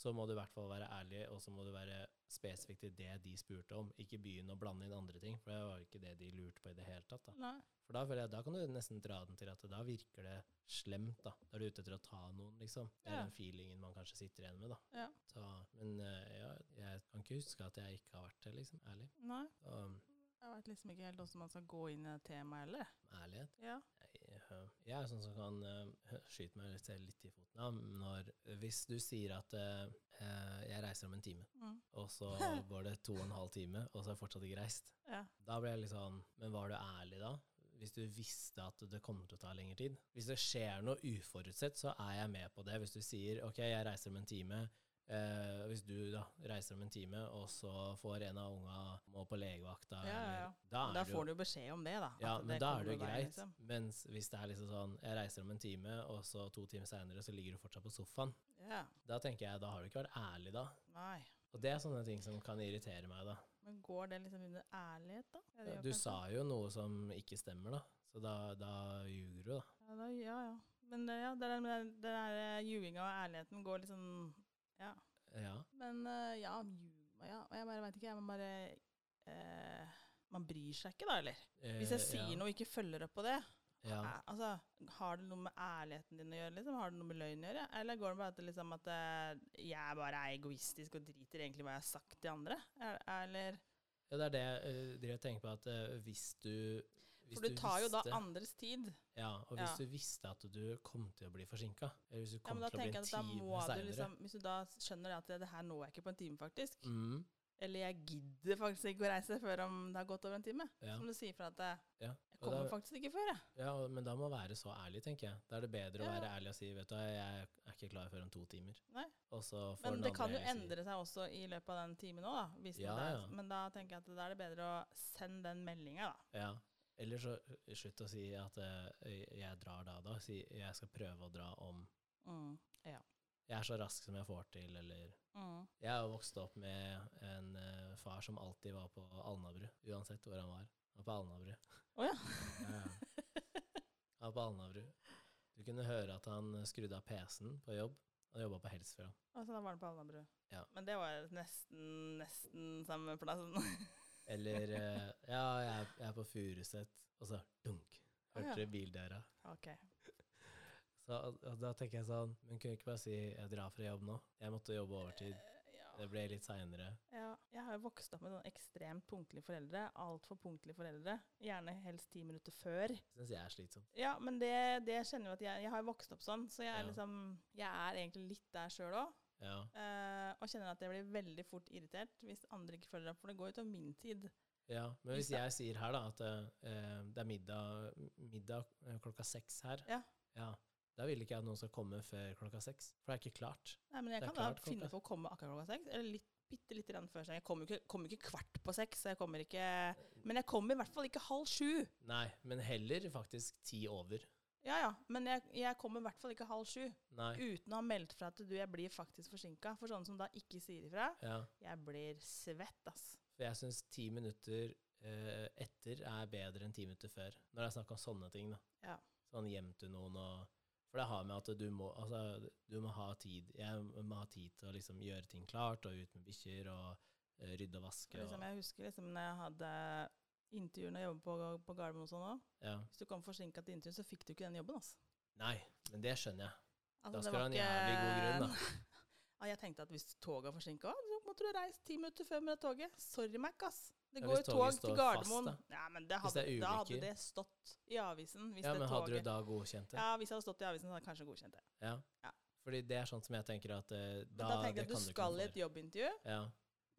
[SPEAKER 1] så må du i hvert fall være ærlig, og så må du være spesifikk til det de spurte om. Ikke begynne å blande inn andre ting, for det var jo ikke det de lurte på i det hele tatt. da.
[SPEAKER 2] nei.
[SPEAKER 1] For da føler jeg, da kan du nesten dra den til at da virker det slemt, da. Da er du ute etter å ta noen, liksom. Det er
[SPEAKER 2] Ja.
[SPEAKER 1] den feelingen man kanskje sitter igjen med, da.
[SPEAKER 2] Ja.
[SPEAKER 1] Så, men øh, ja, jeg kan ikke huske at jeg ikke har vært det, liksom. Ærlig.
[SPEAKER 2] Nei.
[SPEAKER 1] Så, um,
[SPEAKER 2] Jeg vet liksom ikke helt hvordan man skal gå inn i det temaet heller.
[SPEAKER 1] ærlighet
[SPEAKER 2] Ja.
[SPEAKER 1] Jeg, øh, jeg er sånn som kan øh, skyte meg litt, selv litt i foten av når Hvis du sier at øh, øh, jeg reiser om en time,
[SPEAKER 2] Mm.
[SPEAKER 1] og så går det to og en halv time, og så er jeg fortsatt ikke reist,
[SPEAKER 2] Ja.
[SPEAKER 1] da blir jeg litt sånn Men var du ærlig da? Hvis du visste at det kommer til å ta lengre tid? Hvis det skjer noe uforutsett, så er jeg med på det. Hvis du sier OK, jeg reiser om en time. eh, hvis du da reiser om en time, og så får en av unga må på legevakta
[SPEAKER 2] Ja, ja, ja.
[SPEAKER 1] eller- Da er
[SPEAKER 2] Da
[SPEAKER 1] det jo
[SPEAKER 2] får du jo beskjed om det, da.
[SPEAKER 1] ja,
[SPEAKER 2] at
[SPEAKER 1] men da er
[SPEAKER 2] kommer
[SPEAKER 1] det jo
[SPEAKER 2] til å være,
[SPEAKER 1] greit.
[SPEAKER 2] liksom.
[SPEAKER 1] Mens hvis det er liksom sånn Jeg reiser om en time, og så to timer seinere så ligger du fortsatt på sofaen.
[SPEAKER 2] Ja.
[SPEAKER 1] Da tenker jeg, da har du ikke vært ærlig, da.
[SPEAKER 2] Nei.
[SPEAKER 1] Og det er sånne ting som kan irritere meg, da.
[SPEAKER 2] Men går det liksom under ærlighet, da? Ja, det gjør
[SPEAKER 1] Du
[SPEAKER 2] kanskje.
[SPEAKER 1] sa jo noe som ikke stemmer, da. Så da, da ljuger du, da.
[SPEAKER 2] Ja, da, ja, ja. Men det, ja, det der med det der eh, ljuginga og ærligheten går liksom Ja.
[SPEAKER 1] Ja.
[SPEAKER 2] Men eh, ja, ljug ja. og Jeg bare veit ikke, jeg. Man bare eh, Man bryr seg ikke, da, eller? Hvis jeg sier noe og ikke følger opp på det,
[SPEAKER 1] Eh, ja.
[SPEAKER 2] eh, altså, har det noe med ærligheten din å gjøre? liksom? Har det noe med løgn å gjøre? Eller går det bare til liksom at eh, jeg bare er egoistisk og driter egentlig hva jeg har sagt til andre? Er, eller
[SPEAKER 1] ja, det er det jeg eh, driver og tenker på, at eh, hvis du hvis
[SPEAKER 2] For du tar jo da
[SPEAKER 1] visste-
[SPEAKER 2] andres tid.
[SPEAKER 1] Ja, og hvis
[SPEAKER 2] Ja.
[SPEAKER 1] du visste at du kom til å bli forsinka, eller hvis du
[SPEAKER 2] Ja,
[SPEAKER 1] kom
[SPEAKER 2] men da
[SPEAKER 1] til å bli en
[SPEAKER 2] tenker jeg at da må
[SPEAKER 1] time
[SPEAKER 2] du
[SPEAKER 1] seinere
[SPEAKER 2] liksom, Hvis du da skjønner at det, det her når jeg ikke på en time, faktisk,
[SPEAKER 1] mm,
[SPEAKER 2] eller jeg gidder faktisk ikke å reise før om det har gått over en time,
[SPEAKER 1] ja,
[SPEAKER 2] som du sier fra at jeg,
[SPEAKER 1] ja.
[SPEAKER 2] jeg
[SPEAKER 1] Og
[SPEAKER 2] kommer
[SPEAKER 1] da-
[SPEAKER 2] faktisk ikke før, jeg.
[SPEAKER 1] Ja, og- men da må man være så ærlig, tenker jeg. Da er det bedre å
[SPEAKER 2] Ja.
[SPEAKER 1] være ærlig og si vet du, hva, jeg er ikke klar før om to timer.
[SPEAKER 2] Nei.
[SPEAKER 1] Og så får den
[SPEAKER 2] Men det kan jo
[SPEAKER 1] andre si-
[SPEAKER 2] endre seg også i løpet av den timen òg, da. Hvis
[SPEAKER 1] Ja,
[SPEAKER 2] det er,
[SPEAKER 1] ja.
[SPEAKER 2] Men da tenker jeg at da er det bedre å sende den meldinga, da.
[SPEAKER 1] Ja. Eller så eh, slutt å si at eh, jeg drar da, da. Si jeg skal prøve å dra om
[SPEAKER 2] Mm.
[SPEAKER 1] jeg er så rask som jeg får til, eller
[SPEAKER 2] Mm.
[SPEAKER 1] Jeg er jo vokst opp med en eh, far som alltid var på Alnabru, uansett hvor han var. Han var på Alnabru.
[SPEAKER 2] Å ja.
[SPEAKER 1] Ja, ja. Han var på Alnabru. Du kunne høre at han eh, skrudde av PC-en på jobb. Han jobba på Helsfjord.
[SPEAKER 2] Og så da var det på Alnabru.
[SPEAKER 1] Ja.
[SPEAKER 2] Men det var nesten, nesten samme plassen.
[SPEAKER 1] Eller eh, Ja, jeg er, jeg er på Furuset, og så dunk.
[SPEAKER 2] Å,
[SPEAKER 1] Hørte
[SPEAKER 2] ja.
[SPEAKER 1] bildøra.
[SPEAKER 2] ok.
[SPEAKER 1] Så og, og da tenker jeg sånn Men kunne jeg ikke bare si 'jeg drar fra jobb nå'? Jeg måtte jobbe overtid.
[SPEAKER 2] Eh, ja.
[SPEAKER 1] Det ble litt seinere.
[SPEAKER 2] Ja, jeg har jo vokst opp med sånn ekstremt punktlige foreldre. Altfor punktlige foreldre. Gjerne helst ti minutter før.
[SPEAKER 1] Syns jeg er slitsom.
[SPEAKER 2] Ja, men det, det kjenner jo at jeg, jeg har jo vokst opp sånn, så jeg er,
[SPEAKER 1] Ja.
[SPEAKER 2] liksom, jeg er egentlig litt der sjøl òg.
[SPEAKER 1] Ja.
[SPEAKER 2] og kjenner at jeg blir veldig fort irritert hvis andre ikke følger opp, for det går utover min tid.
[SPEAKER 1] ja. Men
[SPEAKER 2] Hvis
[SPEAKER 1] hvis
[SPEAKER 2] det-
[SPEAKER 1] jeg sier her, da, at eh, det er middag, middag eh, klokka seks her
[SPEAKER 2] Ja.
[SPEAKER 1] ja, Da vil ikke jeg at noen skal komme før klokka seks. For det er ikke klart.
[SPEAKER 2] Nei, men jeg
[SPEAKER 1] Det er
[SPEAKER 2] kan da
[SPEAKER 1] klart klokka-
[SPEAKER 2] finne på å komme akkurat klokka seks, eller litt, bitte lite grann før seg. Jeg kommer jo ikke, kommer jo ikke kvart på seks, så jeg kommer ikke Men jeg kommer i hvert fall ikke halv sju.
[SPEAKER 1] Nei, men heller faktisk ti over.
[SPEAKER 2] Ja ja, men jeg, jeg kommer i hvert fall ikke halv sju.
[SPEAKER 1] Nei.
[SPEAKER 2] uten å ha meldt fra at du, jeg blir faktisk forsinka. For sånne som da ikke sier ifra,
[SPEAKER 1] Ja.
[SPEAKER 2] jeg blir svett, ass.
[SPEAKER 1] For jeg syns ti minutter eh, etter er bedre enn ti minutter før, når det er snakk om sånne ting. da.
[SPEAKER 2] Ja.
[SPEAKER 1] Sånn hjem til noen og For det har med at du må, altså, du må ha tid. Jeg må ha tid til å liksom gjøre ting klart, og ut med bikkjer, og eh, rydde og vaske.
[SPEAKER 2] Liksom,
[SPEAKER 1] Og,
[SPEAKER 2] jeg husker liksom når jeg hadde intervju når jeg jobbet på, på Gardermoen og sånn òg.
[SPEAKER 1] ja.
[SPEAKER 2] Hvis du kom forsinka til intervju, så fikk du ikke den jobben, ass.
[SPEAKER 1] Nei, men det skjønner jeg.
[SPEAKER 2] Altså,
[SPEAKER 1] Da
[SPEAKER 2] det
[SPEAKER 1] skal
[SPEAKER 2] var
[SPEAKER 1] du ha en jævlig god grunn, da.
[SPEAKER 2] Ja, jeg tenkte at hvis toget er forsinka, så måtte du reise ti minutter før med det toget. Sorry, Mac, ass. Det
[SPEAKER 1] Ja,
[SPEAKER 2] går
[SPEAKER 1] hvis
[SPEAKER 2] jo tog
[SPEAKER 1] toget
[SPEAKER 2] til
[SPEAKER 1] står fast,
[SPEAKER 2] Gardermoen.
[SPEAKER 1] da.
[SPEAKER 2] ja, men det
[SPEAKER 1] Hvis
[SPEAKER 2] hadde,
[SPEAKER 1] det er
[SPEAKER 2] da hadde
[SPEAKER 1] ulykker.
[SPEAKER 2] det stått i avisen. Hvis
[SPEAKER 1] Ja,
[SPEAKER 2] det
[SPEAKER 1] men hadde du
[SPEAKER 2] toget
[SPEAKER 1] da godkjent det?
[SPEAKER 2] Ja, hvis det hadde stått i avisen, så hadde jeg kanskje godkjent det.
[SPEAKER 1] Ja.
[SPEAKER 2] Ja.
[SPEAKER 1] Fordi det er sånn som jeg tenker at eh,
[SPEAKER 2] Men
[SPEAKER 1] da,
[SPEAKER 2] da,
[SPEAKER 1] det
[SPEAKER 2] tenker jeg
[SPEAKER 1] kan
[SPEAKER 2] at du
[SPEAKER 1] ikke
[SPEAKER 2] skal i
[SPEAKER 1] noe
[SPEAKER 2] et
[SPEAKER 1] for.
[SPEAKER 2] jobbintervju.
[SPEAKER 1] Ja.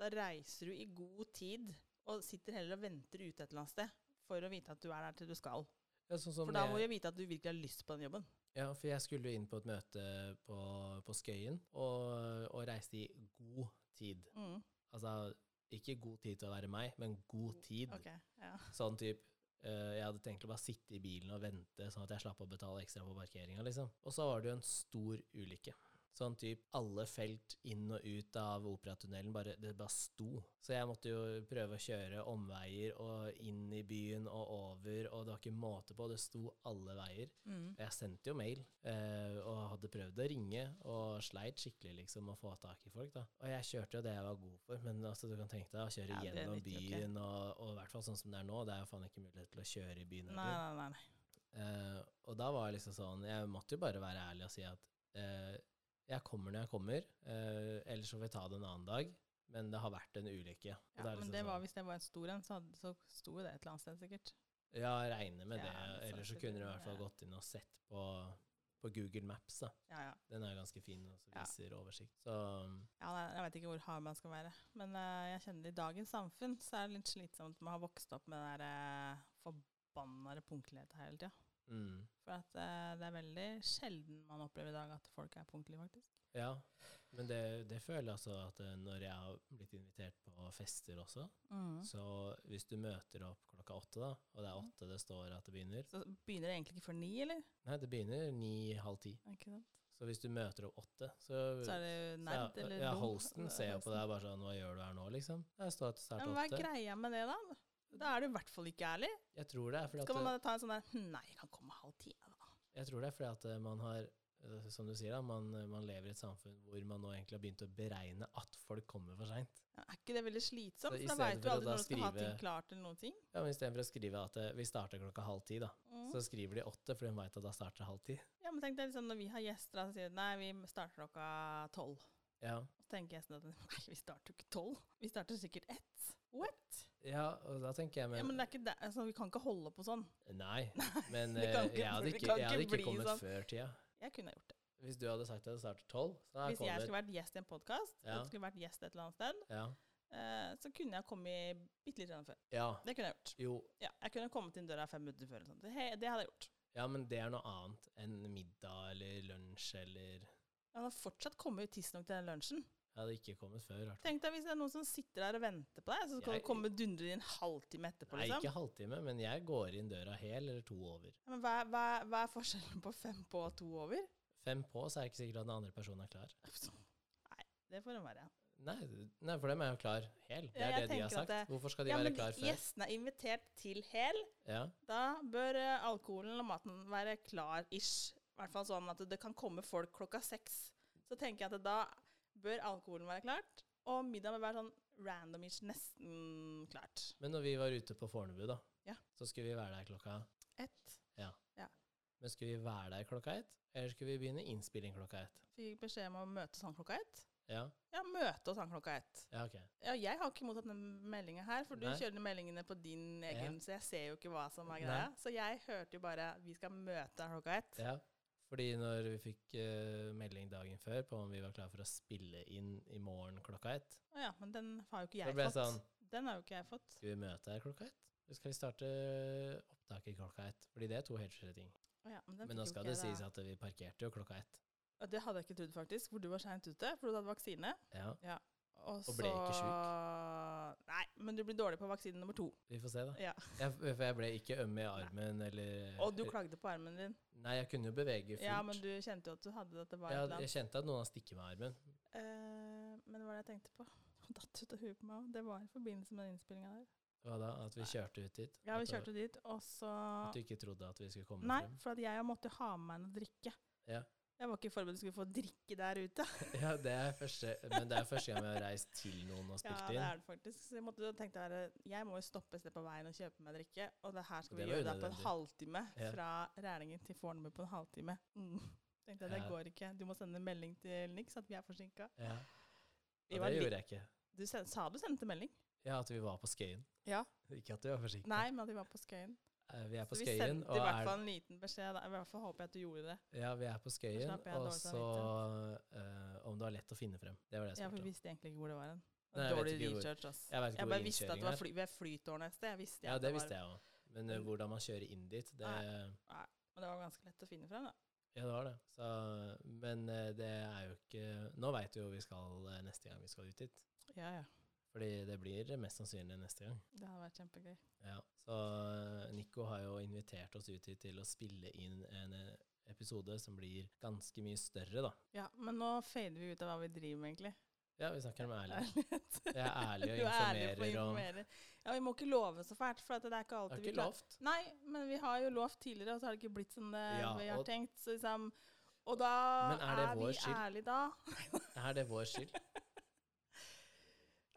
[SPEAKER 2] Da reiser du i god tid, og sitter heller og venter ute et eller annet sted for å vite at du er der til du skal.
[SPEAKER 1] Ja, sånn som
[SPEAKER 2] For da må
[SPEAKER 1] jeg-
[SPEAKER 2] du vite at du virkelig har lyst på den jobben.
[SPEAKER 1] Ja, for jeg skulle jo inn på et møte på, på Skøyen, og, og reiste i god tid.
[SPEAKER 2] Mm.
[SPEAKER 1] Altså, ikke god tid til å være meg, men god tid.
[SPEAKER 2] Ok, ja.
[SPEAKER 1] Sånn typ, eh, jeg hadde tenkt å bare sitte i bilen og vente, sånn at jeg slapp å betale ekstra på parkeringa, liksom. Og så var det jo en stor ulykke. Sånn typ alle felt inn og ut av operatunnelen, bare, det bare sto. Så jeg måtte jo prøve å kjøre omveier og inn i byen og over, og det var ikke måte på, det sto alle veier.
[SPEAKER 2] Mm.
[SPEAKER 1] Jeg sendte jo mail, eh, og hadde prøvd å ringe, og sleit skikkelig liksom å få tak i folk da. Og jeg kjørte jo det jeg var god for, men altså, du kan tenke deg å kjøre
[SPEAKER 2] Ja, det
[SPEAKER 1] gjennom
[SPEAKER 2] nytter jo ikke.
[SPEAKER 1] byen, og, og i hvert fall sånn som det er nå, det er jo faen ikke mulighet til å kjøre i byen.
[SPEAKER 2] Nei,
[SPEAKER 1] heller.
[SPEAKER 2] nei, nei. nei.
[SPEAKER 1] Eh, og da var jeg liksom sånn Jeg måtte jo bare være ærlig og si at eh, jeg kommer når jeg kommer, eh, ellers så får vi ta det en annen dag. Men det har vært en ulykke. Og
[SPEAKER 2] Ja,
[SPEAKER 1] det er
[SPEAKER 2] men
[SPEAKER 1] liksom
[SPEAKER 2] det var,
[SPEAKER 1] sånn,
[SPEAKER 2] hvis det var en stor en, så, hadde, så sto jo det et eller annet sted, sikkert.
[SPEAKER 1] Ja, regner med
[SPEAKER 2] Ja,
[SPEAKER 1] det.
[SPEAKER 2] men
[SPEAKER 1] Ellers så
[SPEAKER 2] samtidig,
[SPEAKER 1] kunne du i hvert fall
[SPEAKER 2] ja.
[SPEAKER 1] gått inn og sett på, på Google Maps. da.
[SPEAKER 2] Ja, ja.
[SPEAKER 1] Den er ganske fin og så
[SPEAKER 2] Ja.
[SPEAKER 1] viser oversikt. Så
[SPEAKER 2] ja nei, jeg vet ikke hvor hard man skal være. Men eh, jeg kjenner i dagens samfunn så er det litt slitsomt med å ha vokst opp med den der uh, forbanna punktligheten hele tida.
[SPEAKER 1] mm,
[SPEAKER 2] For at eh, det er veldig sjelden man opplever i dag at folk er punktlige, faktisk.
[SPEAKER 1] ja. Men det, det føler jeg altså at eh, når jeg har blitt invitert på fester også, så hvis du møter opp klokka åtte, da, og det er
[SPEAKER 2] Mm.
[SPEAKER 1] åtte det står at det begynner
[SPEAKER 2] Så begynner det egentlig ikke før ni, eller?
[SPEAKER 1] Nei, det begynner ni-halv ti.
[SPEAKER 2] Ikke sant?
[SPEAKER 1] Så hvis du møter opp åtte, så,
[SPEAKER 2] Så er det jo nerd
[SPEAKER 1] ja,
[SPEAKER 2] eller
[SPEAKER 1] ja,
[SPEAKER 2] dum.
[SPEAKER 1] Holsten ser jo på deg bare sånn Hva gjør du her nå, liksom? Jeg står til
[SPEAKER 2] Ja,
[SPEAKER 1] start
[SPEAKER 2] men hva er
[SPEAKER 1] åtte.
[SPEAKER 2] greia med det, da? Da er du i hvert fall ikke ærlig.
[SPEAKER 1] Jeg tror det er fordi
[SPEAKER 2] Skal man
[SPEAKER 1] at,
[SPEAKER 2] da ta en sånn der «Hm, Nei, jeg kan komme halv ti. jeg, da».
[SPEAKER 1] jeg tror det er fordi at eh, man har eh, Som du sier, da, man, man lever i et samfunn hvor man nå egentlig har begynt å beregne at folk kommer for seint.
[SPEAKER 2] Ja, Er ikke det veldig
[SPEAKER 1] Så
[SPEAKER 2] slitsomt?
[SPEAKER 1] i
[SPEAKER 2] For da
[SPEAKER 1] stedet
[SPEAKER 2] veit du
[SPEAKER 1] for å
[SPEAKER 2] aldri
[SPEAKER 1] da
[SPEAKER 2] når du skal ha ting
[SPEAKER 1] skrive-
[SPEAKER 2] klart eller noen ting.
[SPEAKER 1] Ja, men Istedenfor å skrive at eh, vi starter klokka halv ti, da,
[SPEAKER 2] Mm.
[SPEAKER 1] så skriver de åtte, for de veit at da starter det halv ti.
[SPEAKER 2] Ja, men tenk deg liksom, Når vi har gjester, da, så sier de nei, vi starter klokka tolv.
[SPEAKER 1] Ja.
[SPEAKER 2] Så tenker gjestene at nei, vi starter jo ikke tolv. Vi starter sikkert ett. What?
[SPEAKER 1] ja, og da tenker jeg
[SPEAKER 2] Ja, men det er ikke det. Altså, vi kan ikke holde på sånn.
[SPEAKER 1] Nei, men
[SPEAKER 2] det kan
[SPEAKER 1] eh,
[SPEAKER 2] ikke
[SPEAKER 1] jeg hadde
[SPEAKER 2] bli- det
[SPEAKER 1] ikke,
[SPEAKER 2] kan
[SPEAKER 1] jeg hadde
[SPEAKER 2] ikke
[SPEAKER 1] ikke
[SPEAKER 2] bli
[SPEAKER 1] kommet
[SPEAKER 2] sånn.
[SPEAKER 1] før tida.
[SPEAKER 2] Jeg kunne ha gjort det.
[SPEAKER 1] Hvis du hadde sagt at det starter tolv, så har jeg
[SPEAKER 2] Hvis jeg skulle
[SPEAKER 1] kommet.
[SPEAKER 2] vært gjest i en podkast,
[SPEAKER 1] Ja.
[SPEAKER 2] skulle vært gjest et eller annet sted,
[SPEAKER 1] Ja.
[SPEAKER 2] eh, så kunne jeg kommet bitte litt grann før.
[SPEAKER 1] ja.
[SPEAKER 2] Det kunne jeg gjort.
[SPEAKER 1] Jo,
[SPEAKER 2] Ja, jeg kunne kommet inn døra fem minutter før. Eller sånt. Det, he- det hadde jeg gjort.
[SPEAKER 1] Ja, men det er noe annet enn middag eller lunsj eller
[SPEAKER 2] Jeg hadde fortsatt kommet ut tidsnok til den lunsjen.
[SPEAKER 1] Jeg hadde ikke kommet før. i hvert fall.
[SPEAKER 2] Tenk deg hvis det er noen som sitter der og venter på deg, så skal
[SPEAKER 1] Jeg-
[SPEAKER 2] du komme dundrende inn en halvtime etterpå,
[SPEAKER 1] Nei,
[SPEAKER 2] liksom.
[SPEAKER 1] ikke halvtime, men jeg går inn døra hel eller to over.
[SPEAKER 2] Ja, Men hva, er- hva, er- hva er forskjellen på fem på og to over?
[SPEAKER 1] Fem på, så er det ikke sikkert at den andre personen er klar.
[SPEAKER 2] Nei, det får en være.
[SPEAKER 1] Nei, nei for dem er jo klar hel. Det
[SPEAKER 2] Ja,
[SPEAKER 1] er
[SPEAKER 2] jeg
[SPEAKER 1] det de har
[SPEAKER 2] tenker at
[SPEAKER 1] sagt.
[SPEAKER 2] det-
[SPEAKER 1] Hvorfor skal de
[SPEAKER 2] Ja,
[SPEAKER 1] være
[SPEAKER 2] men
[SPEAKER 1] klar før?
[SPEAKER 2] gjestene er invitert til hel.
[SPEAKER 1] Ja,
[SPEAKER 2] Da bør eh, alkoholen og maten være klar-ish. I hvert fall sånn at det kan komme folk klokka seks. Så tenker jeg at da bør alkoholen være klart, og middagen bør være sånn random-ish, nesten klart.
[SPEAKER 1] Men når vi var ute på Fornebu, da,
[SPEAKER 2] Ja.
[SPEAKER 1] så skulle vi være der klokka
[SPEAKER 2] Ett.
[SPEAKER 1] Men skulle vi være der klokka ett, eller skulle vi begynne innspilling klokka ett?
[SPEAKER 2] Fikk beskjed om å møtes han klokka ett.
[SPEAKER 1] Ja,
[SPEAKER 2] Ja, møte oss han klokka ett.
[SPEAKER 1] ja ok.
[SPEAKER 2] Ja, jeg har ikke mottatt den meldinga her, for du
[SPEAKER 1] Nei.
[SPEAKER 2] kjører de meldingene på din egen, så jeg ser jo ikke hva som er
[SPEAKER 1] Nei.
[SPEAKER 2] greia. Så jeg hørte jo bare 'vi skal møte han klokka ett'.
[SPEAKER 1] Ja. Fordi når vi fikk eh, melding dagen før på om vi var klar for å spille inn i morgen klokka ett,
[SPEAKER 2] Å ja, men den har jo ikke
[SPEAKER 1] så
[SPEAKER 2] jeg
[SPEAKER 1] ble
[SPEAKER 2] fått.
[SPEAKER 1] jeg sånn
[SPEAKER 2] Den har jo ikke jeg fått.
[SPEAKER 1] Skal vi møte her klokka ett? Eller skal vi starte opptaket klokka ett? Fordi det er to helt forskjellige ting.
[SPEAKER 2] Å ja, men den
[SPEAKER 1] Men nå
[SPEAKER 2] fikk jo
[SPEAKER 1] skal
[SPEAKER 2] ikke
[SPEAKER 1] det
[SPEAKER 2] jeg da.
[SPEAKER 1] sies at vi parkerte jo klokka ett.
[SPEAKER 2] Ja, Det hadde jeg ikke trodd, faktisk, for du var seint ute, for du hadde vaksine.
[SPEAKER 1] Ja,
[SPEAKER 2] Og,
[SPEAKER 1] ble ikke
[SPEAKER 2] sjuk? Nei, men du blir dårlig på vaksine nummer to.
[SPEAKER 1] vi får se, da.
[SPEAKER 2] Ja.
[SPEAKER 1] Jeg, for jeg ble ikke øm i armen eller
[SPEAKER 2] Og du klagde på armen din.
[SPEAKER 1] Nei, jeg kunne jo bevege fullt.
[SPEAKER 2] Ja, men du kjente jo at du hadde at det var et
[SPEAKER 1] jeg,
[SPEAKER 2] eller
[SPEAKER 1] jeg
[SPEAKER 2] annet.
[SPEAKER 1] kjente at noen har stikket meg i armen.
[SPEAKER 2] Eh, men hva var det jeg tenkte på? Det datt ut av huet på meg. også. Det var i forbindelse med den innspillinga der.
[SPEAKER 1] Hva da? At vi
[SPEAKER 2] Nei.
[SPEAKER 1] kjørte ut dit?
[SPEAKER 2] Ja, vi
[SPEAKER 1] At det-
[SPEAKER 2] kjørte dit, og så
[SPEAKER 1] At du ikke trodde at vi skulle komme
[SPEAKER 2] Nei,
[SPEAKER 1] frem?
[SPEAKER 2] for at jeg måtte jo ha med meg noe drikke.
[SPEAKER 1] Ja.
[SPEAKER 2] Jeg var ikke forberedt på at jeg skulle få drikke der ute.
[SPEAKER 1] Ja, det er første, men det er første gang vi har reist til noen og
[SPEAKER 2] Ja,
[SPEAKER 1] spilt
[SPEAKER 2] det
[SPEAKER 1] inn.
[SPEAKER 2] er det faktisk. Så jeg måtte, da tenkte jeg bare, jeg må jo stoppe et sted på veien og kjøpe meg drikke. Og det her skal
[SPEAKER 1] Det
[SPEAKER 2] vi
[SPEAKER 1] var
[SPEAKER 2] gjøre da på en
[SPEAKER 1] unødvendig.
[SPEAKER 2] halvtime.
[SPEAKER 1] Ja.
[SPEAKER 2] Fra Rælingen til Fornebu på en halvtime. Mm. Tenkte jeg, det
[SPEAKER 1] Ja.
[SPEAKER 2] går ikke. Du må sende en melding til Nix at vi er forsinka.
[SPEAKER 1] Ja.
[SPEAKER 2] Vi
[SPEAKER 1] Og
[SPEAKER 2] var
[SPEAKER 1] det
[SPEAKER 2] litt-
[SPEAKER 1] gjorde jeg ikke.
[SPEAKER 2] Du sen, sa du sendte melding?
[SPEAKER 1] Ja, at vi var på Skøyen.
[SPEAKER 2] Ja.
[SPEAKER 1] Ikke at vi var forsiktige.
[SPEAKER 2] Nei, men at vi var på Skøyen.
[SPEAKER 1] Eh, Vi er på
[SPEAKER 2] Så vi
[SPEAKER 1] Skøyen,
[SPEAKER 2] sendte
[SPEAKER 1] og
[SPEAKER 2] i hvert
[SPEAKER 1] er
[SPEAKER 2] fall en liten beskjed. Da. I hvert fall håper jeg at du gjorde det.
[SPEAKER 1] Ja, vi er på Skøyen,
[SPEAKER 2] slapp jeg
[SPEAKER 1] og
[SPEAKER 2] dårlig
[SPEAKER 1] så eh, om det var lett å finne frem. Det var det
[SPEAKER 2] Ja,
[SPEAKER 1] jeg
[SPEAKER 2] for vi
[SPEAKER 1] spurte om.
[SPEAKER 2] visste egentlig ikke hvor det var hen.
[SPEAKER 1] Nei, jeg vet
[SPEAKER 2] Dårlig
[SPEAKER 1] ikke hvor-
[SPEAKER 2] research, ass.
[SPEAKER 1] Jeg vet ikke
[SPEAKER 2] Jeg
[SPEAKER 1] hvor
[SPEAKER 2] bare visste at det
[SPEAKER 1] innkjøringen
[SPEAKER 2] var
[SPEAKER 1] er.
[SPEAKER 2] fly, ved flytårnet et sted. Jeg visste
[SPEAKER 1] Ja, det
[SPEAKER 2] at var- Mm.
[SPEAKER 1] visste jeg òg. Men eh, hvordan man kjører inn dit, det
[SPEAKER 2] Men det var ganske lett å finne frem, da.
[SPEAKER 1] Ja, det var det. Så, men eh, det er jo ikke Nå veit vi jo vi skal eh, neste gang vi skal ut dit.
[SPEAKER 2] Ja, ja.
[SPEAKER 1] Fordi det blir mest sannsynlig neste gang.
[SPEAKER 2] Det hadde vært kjempegøy.
[SPEAKER 1] Ja. Så eh, Nico har jo invitert oss ut hit til å spille inn en, eh, episode som blir ganske mye større, da.
[SPEAKER 2] Ja, men nå fader vi ut av hva vi driver med, egentlig.
[SPEAKER 1] Ja, vi snakker om ærlighet.
[SPEAKER 2] Ærlighet.
[SPEAKER 1] Jeg er ærlig og
[SPEAKER 2] Du er ærlig
[SPEAKER 1] informerer om
[SPEAKER 2] på å
[SPEAKER 1] Det
[SPEAKER 2] informere. Ja, vi må ikke love så fælt, for at det er ikke
[SPEAKER 1] er
[SPEAKER 2] alltid vi
[SPEAKER 1] ikke
[SPEAKER 2] klarer
[SPEAKER 1] lovt.
[SPEAKER 2] Nei, men vi har jo lovt tidligere, og så har det ikke blitt som det
[SPEAKER 1] Ja,
[SPEAKER 2] vi har
[SPEAKER 1] og-
[SPEAKER 2] tenkt. Så liksom, og da
[SPEAKER 1] Men er det
[SPEAKER 2] er,
[SPEAKER 1] vår
[SPEAKER 2] vi
[SPEAKER 1] skyld?
[SPEAKER 2] ærlige da.
[SPEAKER 1] Er det vår skyld?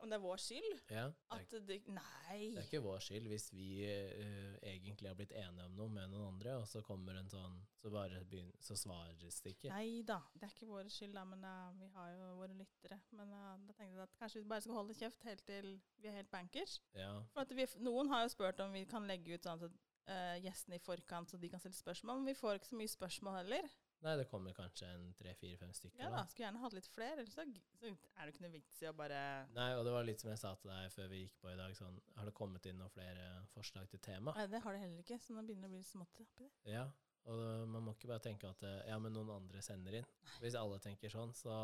[SPEAKER 2] Om det er vår skyld?
[SPEAKER 1] Ja. Det er,
[SPEAKER 2] At det Nei.
[SPEAKER 1] det er ikke vår skyld hvis vi eh, egentlig har blitt enige om noe med noen andre, og så kommer en sånn Så bare begynner Så svares det ikke.
[SPEAKER 2] Nei da, det er ikke vår skyld, da, men eh, vi har jo våre lyttere. Men eh, da tenkte jeg at kanskje vi bare skal holde kjeft helt til vi er helt bankers.
[SPEAKER 1] Ja.
[SPEAKER 2] For at vi, f- noen har jo spurt om vi kan legge ut sånn at eh, gjestene i forkant, så de kan stille spørsmål. Men vi får ikke så mye spørsmål heller.
[SPEAKER 1] Nei, det kommer kanskje en tre-fire-fem stykker,
[SPEAKER 2] Ja da,
[SPEAKER 1] da.
[SPEAKER 2] Skulle gjerne hatt litt flere, ellers så, g- så er det ikke noe vits i å bare
[SPEAKER 1] Nei, og det var litt som jeg sa til deg før vi gikk på i dag, sånn Har det kommet inn noen flere forslag til tema?
[SPEAKER 2] Nei, det har det heller ikke, så nå begynner det å bli smått oppi det.
[SPEAKER 1] Ja. Og det- man må ikke bare tenke at eh, ja, men noen andre sender inn. Hvis alle tenker sånn, så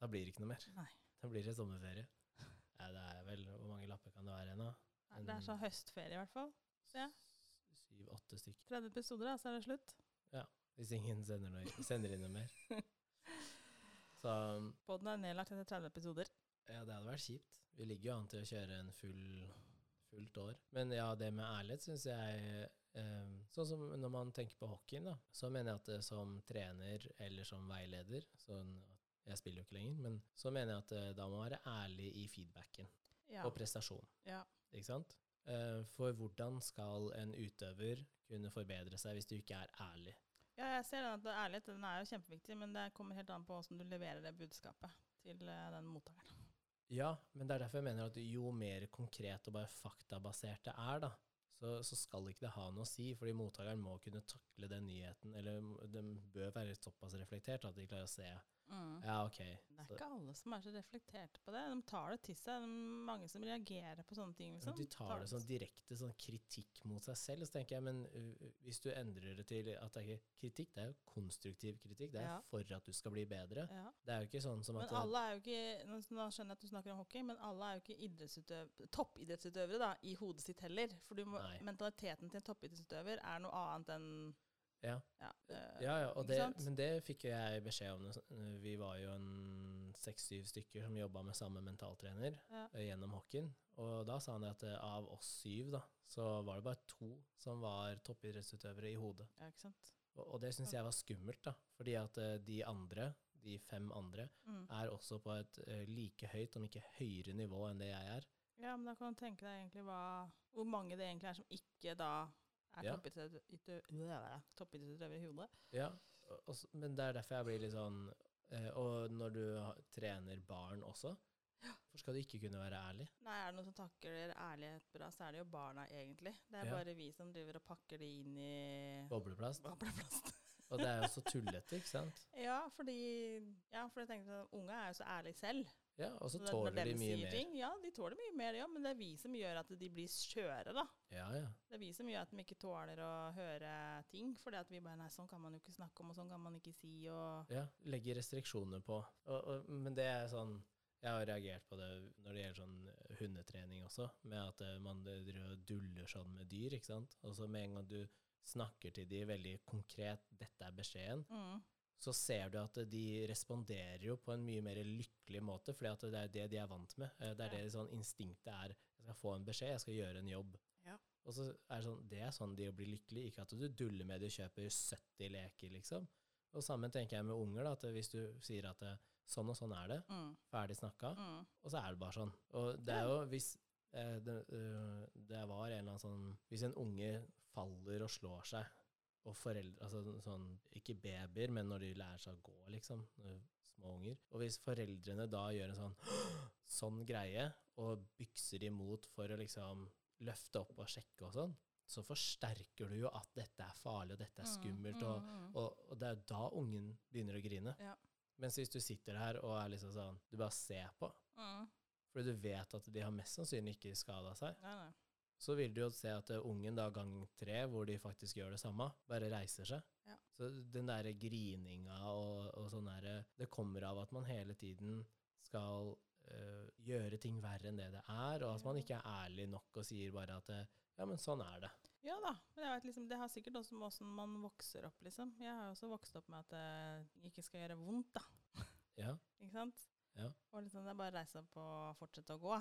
[SPEAKER 1] da blir det ikke noe mer.
[SPEAKER 2] Nei.
[SPEAKER 1] Da blir det sommerferie. Nei, det er vel Hvor mange lapper kan det være igjen, da?
[SPEAKER 2] Nei, Det er sånn høstferie, i hvert fall. Ja.
[SPEAKER 1] Syv-åtte stykker.
[SPEAKER 2] 30 episoder, da, så er det slutt.
[SPEAKER 1] Hvis ingen sender, noe, sender inn noe mer. Så
[SPEAKER 2] Podden er nedlagt etter 30 episoder.
[SPEAKER 1] Ja, det hadde vært kjipt. Vi ligger jo an til å kjøre en full, fullt år. Men ja, det med ærlighet syns jeg eh, Sånn som når man tenker på hockeyen, da. Så mener jeg at eh, som trener eller som veileder sånn, Jeg spiller jo ikke lenger, men så mener jeg at eh, da må man være ærlig i feedbacken
[SPEAKER 2] Ja.
[SPEAKER 1] og prestasjonen.
[SPEAKER 2] ja.
[SPEAKER 1] Ikke sant? Eh, for hvordan skal en utøver kunne forbedre seg hvis du ikke er ærlig?
[SPEAKER 2] Ja, jeg ser den at det- ærlighet den er jo kjempeviktig, men det kommer helt an på hvordan du leverer det budskapet til eh, den mottakeren.
[SPEAKER 1] Ja, men det er derfor jeg mener at jo mer konkret og bare faktabasert det er, da, så, så skal ikke det ha noe å si, fordi mottakeren må kunne takle den nyheten, eller m- den bør være såpass reflektert at de klarer å se.
[SPEAKER 2] Mm.
[SPEAKER 1] Ja, ok.
[SPEAKER 2] Det er
[SPEAKER 1] Så,
[SPEAKER 2] ikke alle som er så reflekterte på det. De tar det til seg. Det er mange som reagerer på sånne ting. Liksom.
[SPEAKER 1] de tar det
[SPEAKER 2] til
[SPEAKER 1] sånn direkte sånn kritikk mot seg selv, så tenker jeg, men uh, hvis du endrer det til at det er ikke kritikk, det er jo konstruktiv kritikk, det er
[SPEAKER 2] Ja.
[SPEAKER 1] for at du skal bli bedre.
[SPEAKER 2] seg. Ja.
[SPEAKER 1] Det er jo ikke sånn som at
[SPEAKER 2] Men alle er jo ikke nå, nå skjønner jeg at du snakker om hockey, men alle er jo ikke idrettsutøv, toppidrettsutøvere da, i hodet sitt heller. For du må,
[SPEAKER 1] Nei.
[SPEAKER 2] mentaliteten til en toppidrettsutøver er noe annet enn
[SPEAKER 1] Ja.
[SPEAKER 2] eh,
[SPEAKER 1] Ja, ja, og
[SPEAKER 2] Ikke
[SPEAKER 1] det,
[SPEAKER 2] sant?
[SPEAKER 1] men det fikk jo jeg beskjed om. når s- eh, Vi var jo en seks-syv stykker som jobba med samme mentaltrener
[SPEAKER 2] Ja.
[SPEAKER 1] eh, gjennom hockeyen. Og da sa han det at eh, av oss syv, da, så var det bare to som var toppidrettsutøvere i hodet.
[SPEAKER 2] ja, ikke sant?
[SPEAKER 1] Og, og det syns jeg var skummelt, da. Fordi at eh, de andre, de fem andre,
[SPEAKER 2] Mm.
[SPEAKER 1] er også på et eh, like høyt, om ikke høyere nivå enn det jeg er.
[SPEAKER 2] Ja, men da kan du tenke deg egentlig hva, hvor mange det egentlig er som ikke da er
[SPEAKER 1] Ja.
[SPEAKER 2] toppidrettsutøvere toppidrettsutøvere i hodet.
[SPEAKER 1] Ja, og- og, s- men det er derfor jeg blir litt sånn eh, Og når du ha- trener barn også, hvorfor skal du ikke kunne være ærlig?
[SPEAKER 2] Nei, er det noen som takler ærlighet bra, så er det jo barna egentlig. Det er
[SPEAKER 1] Ja.
[SPEAKER 2] bare vi som driver og pakker det inn i
[SPEAKER 1] Bobleplast.
[SPEAKER 2] bobleplast.
[SPEAKER 1] Og det er jo så tullete, ikke sant?
[SPEAKER 2] Ja, fordi ja, for jeg tenkte at unge er jo så ærlige selv.
[SPEAKER 1] Ja, og så
[SPEAKER 2] Når- når
[SPEAKER 1] tåler de
[SPEAKER 2] dem
[SPEAKER 1] mye
[SPEAKER 2] sier
[SPEAKER 1] mer.
[SPEAKER 2] Ting, ja, de tåler mye mer, ja, men det er vi som gjør at de blir skjøre, da.
[SPEAKER 1] Ja, ja.
[SPEAKER 2] Det er vi som gjør at de ikke tåler å høre ting, fordi at vi bare Nei, sånn kan man jo ikke snakke om, og sånn kan man ikke si, og
[SPEAKER 1] ja. Legge restriksjoner på. Og, og, men det er sånn Jeg har reagert på det når det gjelder sånn hundetrening også, med at eh, man driver og duller sånn med dyr, ikke sant? Og så med en gang du snakker til de veldig konkret 'dette er beskjeden',
[SPEAKER 2] mm.
[SPEAKER 1] så ser du at de responderer jo på en mye mer lykkelig måte, fordi at det er det de er vant med. Eh, Det er
[SPEAKER 2] Ja.
[SPEAKER 1] det sånn instinktet er. Jeg skal få en beskjed, jeg skal gjøre en jobb.
[SPEAKER 2] Ja.
[SPEAKER 1] Og så er det sånn, det er sånn de blir lykkelige, ikke at du duller med det og kjøper 70 leker, liksom. Og sammen tenker jeg med unger, da, at hvis du sier at eh, sånn og sånn er det,
[SPEAKER 2] Mm.
[SPEAKER 1] ferdig snakka,
[SPEAKER 2] Mm.
[SPEAKER 1] og så er det bare sånn. Og det er jo hvis eh, det, øh, det var en eller annen sånn Hvis en unge faller og slår seg, og foreldre Altså sånn Ikke babyer, men når de lærer seg å gå, liksom. øh, Små unger. Og hvis foreldrene da gjør en sånn sånn greie, og bykser imot for å liksom løfte opp og sjekke og sånn, så forsterker du jo at dette er farlig, og dette er skummelt, og
[SPEAKER 2] Mm, mm, mm.
[SPEAKER 1] og, og det er da ungen begynner å grine.
[SPEAKER 2] Ja.
[SPEAKER 1] Mens hvis du sitter her og er liksom sånn Du bare ser på,
[SPEAKER 2] Mm.
[SPEAKER 1] fordi du vet at de har mest sannsynlig ikke skada seg,
[SPEAKER 2] Nei, nei.
[SPEAKER 1] så vil du jo se at eh, ungen da gang tre, hvor de faktisk gjør det samme, bare reiser seg.
[SPEAKER 2] Ja.
[SPEAKER 1] Så den derre grininga og, og sånn derre Det kommer av at man hele tiden skal eh, gjøre ting verre enn det det er, og at man ikke er ærlig nok og sier bare at eh, ja, men sånn er det.
[SPEAKER 2] Ja da. Men jeg vet, liksom, det har sikkert også med åssen man vokser opp, liksom. Jeg har jo også vokst opp med at det ikke skal gjøre vondt, da.
[SPEAKER 1] Ja,
[SPEAKER 2] Ikke sant?
[SPEAKER 1] Ja.
[SPEAKER 2] Og liksom, det er bare å reise opp og fortsette å gå.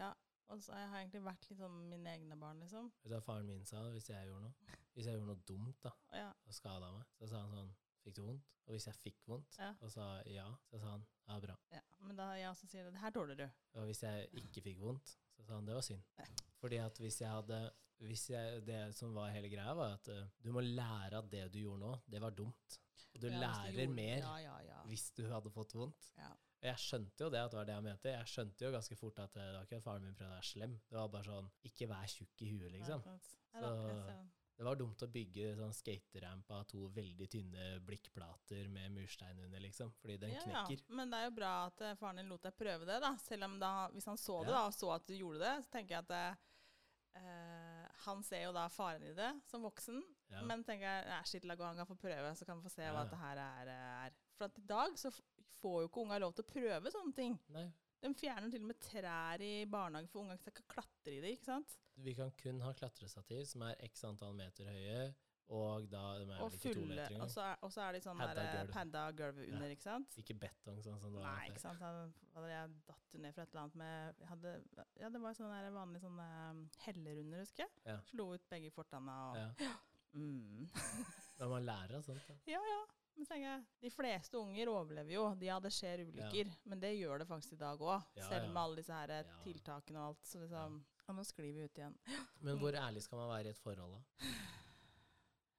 [SPEAKER 1] ja.
[SPEAKER 2] Og så har jeg egentlig vært litt sånn mine egne barn, liksom.
[SPEAKER 1] Vet du hva faren min sa hvis jeg gjorde noe? Hvis jeg gjorde noe dumt da,
[SPEAKER 2] Og ja,
[SPEAKER 1] og skada meg, så sa han sånn Fikk du vondt? Og hvis jeg fikk vondt,
[SPEAKER 2] Ja.
[SPEAKER 1] og sa ja, så sa han ja, bra.
[SPEAKER 2] ja. Men da jeg også sier det, det her tåler du.
[SPEAKER 1] Og hvis jeg ikke fikk vondt, så sa han det var synd. Fordi at hvis jeg hadde hvis jeg, Det som var hele greia, var at eh, du må lære at det du gjorde nå, det var dumt. Og du
[SPEAKER 2] Ja, hvis
[SPEAKER 1] lærer
[SPEAKER 2] gjorde-
[SPEAKER 1] mer
[SPEAKER 2] Ja, ja, ja.
[SPEAKER 1] hvis du hadde fått vondt.
[SPEAKER 2] Ja.
[SPEAKER 1] Og jeg skjønte jo det at det var det han mente. Jeg skjønte jo ganske fort at eh, det var ikke at faren min prøvde å være slem. Det var bare sånn Ikke vær tjukk i huet, liksom.
[SPEAKER 2] Ja, ikke sant. Nei da, jeg
[SPEAKER 1] Så-
[SPEAKER 2] ser den.
[SPEAKER 1] Det var dumt å bygge sånn skateramp av to veldig tynne blikkplater med murstein under, liksom. Fordi den
[SPEAKER 2] Ja, ja.
[SPEAKER 1] knekker.
[SPEAKER 2] Men det er jo bra at eh, faren din lot deg prøve det, da. Selv om da, hvis han så det
[SPEAKER 1] Ja.
[SPEAKER 2] da, og så at du gjorde det, så tenker jeg at eh, eh, han ser jo da faren i det som voksen.
[SPEAKER 1] Ja.
[SPEAKER 2] Men tenker jeg, nei, shit, la gå, han kan få prøve, så kan han få se
[SPEAKER 1] Ja,
[SPEAKER 2] hva
[SPEAKER 1] ja.
[SPEAKER 2] det her er, eh, er. For at i dag så f- får jo ikke unga lov til å prøve sånne ting.
[SPEAKER 1] Nei,
[SPEAKER 2] De fjerner til og med trær i barnehagen, for unga skal ikke klatre i det, ikke sant?
[SPEAKER 1] vi kan kun ha klatrestativ som er x antall meter høye, og da de er
[SPEAKER 2] Og
[SPEAKER 1] vel ikke to
[SPEAKER 2] fulle,
[SPEAKER 1] meter
[SPEAKER 2] og
[SPEAKER 1] engang.
[SPEAKER 2] så er, og så er de sånn
[SPEAKER 1] Padda
[SPEAKER 2] der eh,
[SPEAKER 1] gulv.
[SPEAKER 2] padda gulv under, ikke sant?
[SPEAKER 1] Ikke betong, sånn som det var.
[SPEAKER 2] Nei, ikke sant. Han, hadde jeg datt jo ned fra et eller annet med jeg hadde, Ja, det var sånn der vanlig sånn um, hellerunder, husker jeg.
[SPEAKER 1] Ja.
[SPEAKER 2] Slo ut begge fortanna og ja.
[SPEAKER 1] Ja.
[SPEAKER 2] Mm.
[SPEAKER 1] Men man lærer av sånt. Da.
[SPEAKER 2] ja, ja. Men så tenker jeg, de fleste unger overlever jo. De, ja, det skjer ulykker. Men det gjør det faktisk i dag òg.
[SPEAKER 1] Ja,
[SPEAKER 2] selv
[SPEAKER 1] ja.
[SPEAKER 2] med alle disse her eh,
[SPEAKER 1] Ja.
[SPEAKER 2] tiltakene og alt. Så liksom Ja, nå sklir vi ut igjen.
[SPEAKER 1] Men hvor ærlig skal man være i et forhold, da?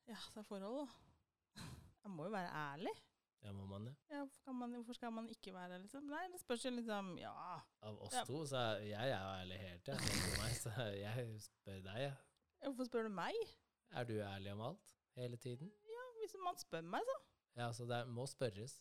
[SPEAKER 2] Ja, så er forholdet, da. Jeg må jo være ærlig.
[SPEAKER 1] Ja, må man det?
[SPEAKER 2] Ja, hvorfor, kan man, hvorfor skal man ikke være det, liksom? Nei, det spørs jo liksom Ja.
[SPEAKER 1] Av oss
[SPEAKER 2] Ja.
[SPEAKER 1] to, så er jeg er jo ærlig helt, jeg. Sånn for meg, så jeg spør deg, jeg.
[SPEAKER 2] Hvorfor spør du meg?
[SPEAKER 1] Er du ærlig om alt? Hele tiden?
[SPEAKER 2] Hvis man spør meg,
[SPEAKER 1] Ja, så det er- må spørres.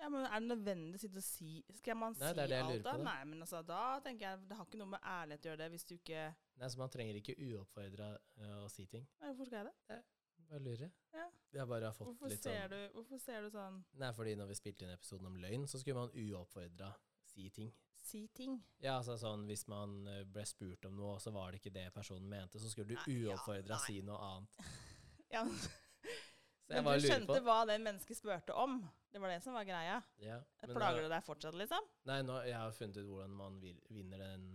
[SPEAKER 2] Ja, men Er det nødvendig å sitte og si Skal man
[SPEAKER 1] Nei,
[SPEAKER 2] si
[SPEAKER 1] det er det jeg
[SPEAKER 2] alt,
[SPEAKER 1] lurer på,
[SPEAKER 2] da?
[SPEAKER 1] da.
[SPEAKER 2] Nei, men altså, da tenker jeg Det har ikke noe med ærlighet å gjøre det, hvis du ikke
[SPEAKER 1] Nei, så man trenger ikke uoppfordra eh, å si ting.
[SPEAKER 2] Nei, Hvorfor skal jeg det?
[SPEAKER 1] Bare lurer.
[SPEAKER 2] Ja.
[SPEAKER 1] Jeg bare har fått
[SPEAKER 2] Hvorfor
[SPEAKER 1] litt
[SPEAKER 2] ser,
[SPEAKER 1] sånn
[SPEAKER 2] du, hvorfor ser du sånn
[SPEAKER 1] Nei, fordi når vi spilte inn episoden om løgn, så skulle man uoppfordra si ting.
[SPEAKER 2] Si ting.
[SPEAKER 1] Ja, altså sånn hvis man eh, ble spurt om noe, og så var det ikke det personen mente, så skulle du
[SPEAKER 2] Nei, ja,
[SPEAKER 1] uoppfordra
[SPEAKER 2] nei.
[SPEAKER 1] si noe annet.
[SPEAKER 2] Ja, men
[SPEAKER 1] Så jeg
[SPEAKER 2] men
[SPEAKER 1] bare
[SPEAKER 2] du
[SPEAKER 1] lurer
[SPEAKER 2] skjønte
[SPEAKER 1] på
[SPEAKER 2] hva det mennesket spurte om. Det var det som var greia.
[SPEAKER 1] ja,
[SPEAKER 2] Jeg
[SPEAKER 1] men da,
[SPEAKER 2] plager det deg fortsatt, liksom?
[SPEAKER 1] Nei, nå, jeg har funnet ut hvordan man vil, vinner den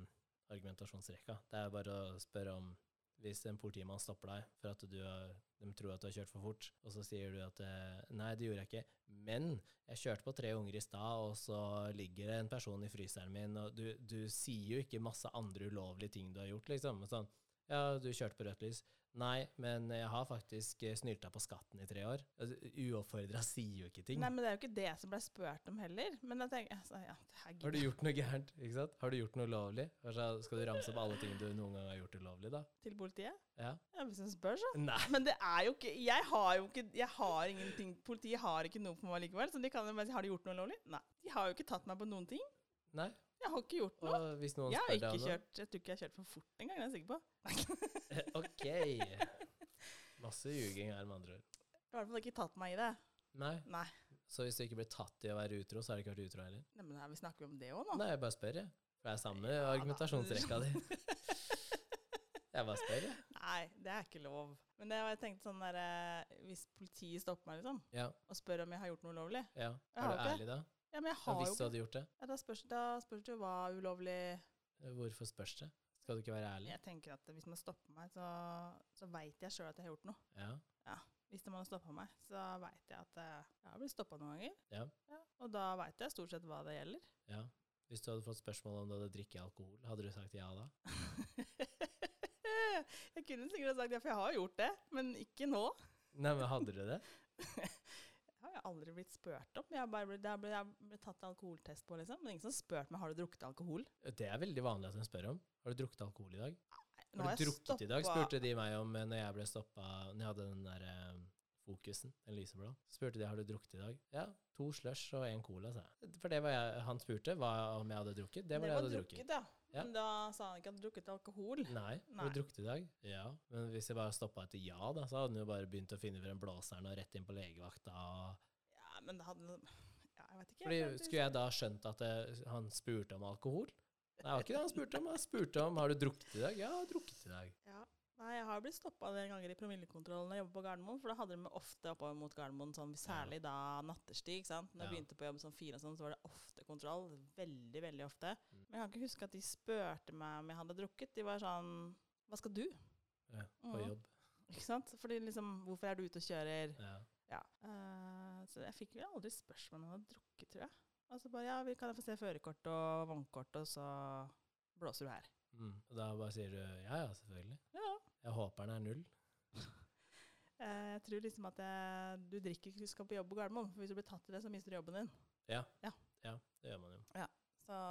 [SPEAKER 1] argumentasjonsrekka. Det er bare å spørre om Hvis en politimann stopper deg for at du har, de tror at du har kjørt for fort, og så sier du at eh, Nei, det gjorde jeg ikke, men jeg kjørte på tre unger i stad, og så ligger det en person i fryseren min, og du, du sier jo ikke masse andre ulovlige ting du har gjort, liksom. Sånn, ja, du kjørte på rødt lys. Nei, men jeg har faktisk eh, snylta på skatten i tre år. Altså, Uoppfordra sier jo ikke ting.
[SPEAKER 2] Nei, men det er jo ikke det som ble spurt om heller. Men jeg tenker altså, ja,
[SPEAKER 1] Har
[SPEAKER 2] herregud.
[SPEAKER 1] du gjort noe gærent? ikke sant? Har du gjort noe ulovlig? Hva sa- Skal du ramse opp alle ting du noen gang har gjort ulovlig, da?
[SPEAKER 2] Til politiet?
[SPEAKER 1] Ja.
[SPEAKER 2] Ja, hvis de spør, så.
[SPEAKER 1] Nei.
[SPEAKER 2] Men det er jo ikke Jeg har jo ikke Jeg har ingenting Politiet har ikke noe på meg likevel. Så de kan jo bare si Har du gjort noe lovlig? Nei. De har jo ikke tatt meg på noen ting.
[SPEAKER 1] Nei.
[SPEAKER 2] Jeg har ikke gjort noe.
[SPEAKER 1] Og hvis noen
[SPEAKER 2] Jeg har
[SPEAKER 1] spør deg
[SPEAKER 2] ikke
[SPEAKER 1] om noe
[SPEAKER 2] kjørt, jeg tror ikke jeg har kjørt for fort engang, det er jeg sikker på.
[SPEAKER 1] Ok. Masse ljuging her, med andre ord.
[SPEAKER 2] I hvert fall ikke tatt meg i det.
[SPEAKER 1] Nei.
[SPEAKER 2] Nei.
[SPEAKER 1] Så hvis du ikke blir tatt i å være utro, så har du ikke vært utro heller?
[SPEAKER 2] Nei, men her, vi snakker jo om det òg nå.
[SPEAKER 1] Nei, jeg bare spør, jeg. For det er samme
[SPEAKER 2] Ja, da.
[SPEAKER 1] argumentasjonsrekka di. Jeg bare spør, jeg.
[SPEAKER 2] Nei, det er ikke lov. Men det var jeg tenkte sånn der, eh, hvis politiet stopper meg liksom,
[SPEAKER 1] Ja.
[SPEAKER 2] og spør om jeg har gjort noe ulovlig
[SPEAKER 1] ja. Er
[SPEAKER 2] Jeg har
[SPEAKER 1] du
[SPEAKER 2] ikke.
[SPEAKER 1] ærlig da?
[SPEAKER 2] Ja, men jeg
[SPEAKER 1] Ja,
[SPEAKER 2] har jo
[SPEAKER 1] hvis du
[SPEAKER 2] ikke
[SPEAKER 1] hadde gjort det,
[SPEAKER 2] ja, Da spørs da spørs det jo hva ulovlig
[SPEAKER 1] hvorfor spørs det? Skal du ikke være ærlig?
[SPEAKER 2] Jeg tenker at hvis man stopper meg, så, så veit jeg sjøl at jeg har gjort noe.
[SPEAKER 1] Ja.
[SPEAKER 2] Hvis man har stoppa meg, så veit jeg at eh, jeg har blitt stoppa noen ganger.
[SPEAKER 1] Ja.
[SPEAKER 2] og da veit jeg stort sett hva det gjelder.
[SPEAKER 1] ja. Hvis du hadde fått spørsmål om du hadde drukket alkohol, hadde du sagt ja da?
[SPEAKER 2] jeg kunne sikkert ha sagt ja, for jeg har gjort det, men ikke nå.
[SPEAKER 1] Nei, men hadde du det?
[SPEAKER 2] Det har jeg aldri blitt spurt om. Jeg har bare blitt, det har blitt, jeg har blitt tatt alkoholtest på, liksom. Men ingen som har spurt meg har du drukket alkohol.
[SPEAKER 1] Det er veldig vanlig at de spør om. Har du drukket alkohol i dag?
[SPEAKER 2] Nå
[SPEAKER 1] Har du drukket i dag?
[SPEAKER 2] stoppa-
[SPEAKER 1] spurte de meg om eh, når jeg ble stoppa Når jeg hadde den der eh, fokusen, den lyseblå. Så spurte de har du drukket i dag. Ja, to slush og én cola, sa jeg. For det var jeg, han spurte var om jeg hadde drukket. Det var det jeg hadde drukket.
[SPEAKER 2] ja.
[SPEAKER 1] Ja.
[SPEAKER 2] Men da sa han ikke at han hadde drukket alkohol.
[SPEAKER 1] Nei. Har
[SPEAKER 2] Nei.
[SPEAKER 1] du drukket i dag? Ja. Men hvis jeg bare stoppa etter ja, da, så hadde han jo bare begynt å finne frem blåseren og rett inn på legevakta og
[SPEAKER 2] Ja, men det hadde ja, jeg vet ikke.
[SPEAKER 1] Fordi
[SPEAKER 2] jeg-
[SPEAKER 1] Skulle jeg da skjønt at det, han spurte om alkohol? Nei, det var ikke det han spurte om. Han spurte om har du drukket i dag. Ja, jeg har drukket i dag.
[SPEAKER 2] Ja. Nei, jeg har blitt stoppa en ganger i promillekontrollen når jeg jobber på Gardermoen. For da hadde de meg ofte oppover mot Gardermoen, sånn, særlig da nattestid. ikke sant? Når jeg
[SPEAKER 1] Ja.
[SPEAKER 2] begynte på jobb sånn fire, og sånn, så var det ofte kontroll. Veldig, veldig ofte. Men jeg kan ikke huske at de spurte meg om jeg hadde drukket. De var sånn Hva skal du?
[SPEAKER 1] Ja, på
[SPEAKER 2] Mhm.
[SPEAKER 1] jobb.
[SPEAKER 2] Ikke sant? Fordi liksom Hvorfor er du ute og kjører?
[SPEAKER 1] Ja.
[SPEAKER 2] Ja. Eh, så jeg fikk vel aldri spørsmål om jeg hadde drukket, tror jeg. Altså bare Ja, vi kan jeg få se førerkort og vognkort, og så blåser du her.
[SPEAKER 1] Mm. Og da bare sier du ja, ja, selvfølgelig.
[SPEAKER 2] Ja.
[SPEAKER 1] Jeg håper den er null.
[SPEAKER 2] Eh, Jeg tror liksom at jeg, du drikker ikke hvis du skal på jobb på Gardermoen, for hvis du blir tatt i det, så mister du jobben din.
[SPEAKER 1] Ja, det gjør man jo.
[SPEAKER 2] Så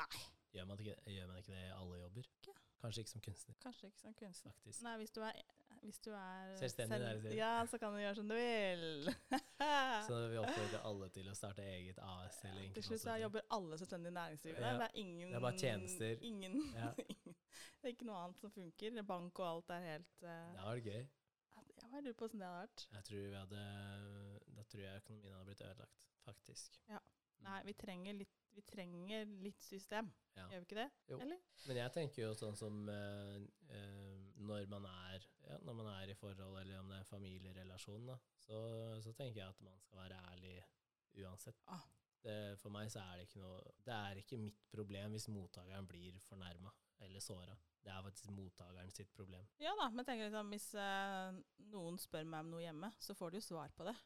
[SPEAKER 2] nei,
[SPEAKER 1] Gjør man ikke det, gjør man ikke det i alle jobber?
[SPEAKER 2] Ikke.
[SPEAKER 1] Kanskje ikke som kunstner,
[SPEAKER 2] kanskje ikke som kunstner.
[SPEAKER 1] faktisk.
[SPEAKER 2] Nei, hvis du er, hvis du er
[SPEAKER 1] Selvstendig, det er det du sier.
[SPEAKER 2] Ja, så kan du gjøre som du vil.
[SPEAKER 1] Så vi oppfordrer alle til å starte eget AS eller
[SPEAKER 2] Til slutt så
[SPEAKER 1] enkeltmannsbedrift.
[SPEAKER 2] jobber alle selvstendig næringsdrivende.
[SPEAKER 1] Ja.
[SPEAKER 2] Det er ingen
[SPEAKER 1] Det er bare tjenester.
[SPEAKER 2] Ingen,
[SPEAKER 1] Ja.
[SPEAKER 2] det er ikke noe annet som funker. Bank og alt er helt eh,
[SPEAKER 1] Det var gøy.
[SPEAKER 2] Jeg bare lurer på åssen det hadde vært.
[SPEAKER 1] Jeg tror vi hadde Da tror jeg økonomien hadde blitt ødelagt, faktisk. Mm.
[SPEAKER 2] Nei, vi trenger litt, vi trenger litt system.
[SPEAKER 1] Ja.
[SPEAKER 2] Gjør vi ikke det?
[SPEAKER 1] Jo.
[SPEAKER 2] Eller?
[SPEAKER 1] Men jeg tenker jo sånn som eh, eh, når, man er, ja, når man er i forhold, eller om det er en familierelasjon, da, så, så tenker jeg at man skal være ærlig uansett.
[SPEAKER 2] Ah.
[SPEAKER 1] Det, for meg så er det ikke noe Det er ikke mitt problem hvis mottakeren blir fornærma eller såra. Det er faktisk mottakeren sitt problem.
[SPEAKER 2] Ja da, men jeg tenker liksom, hvis eh, noen spør meg om noe hjemme, så får du jo svar på det.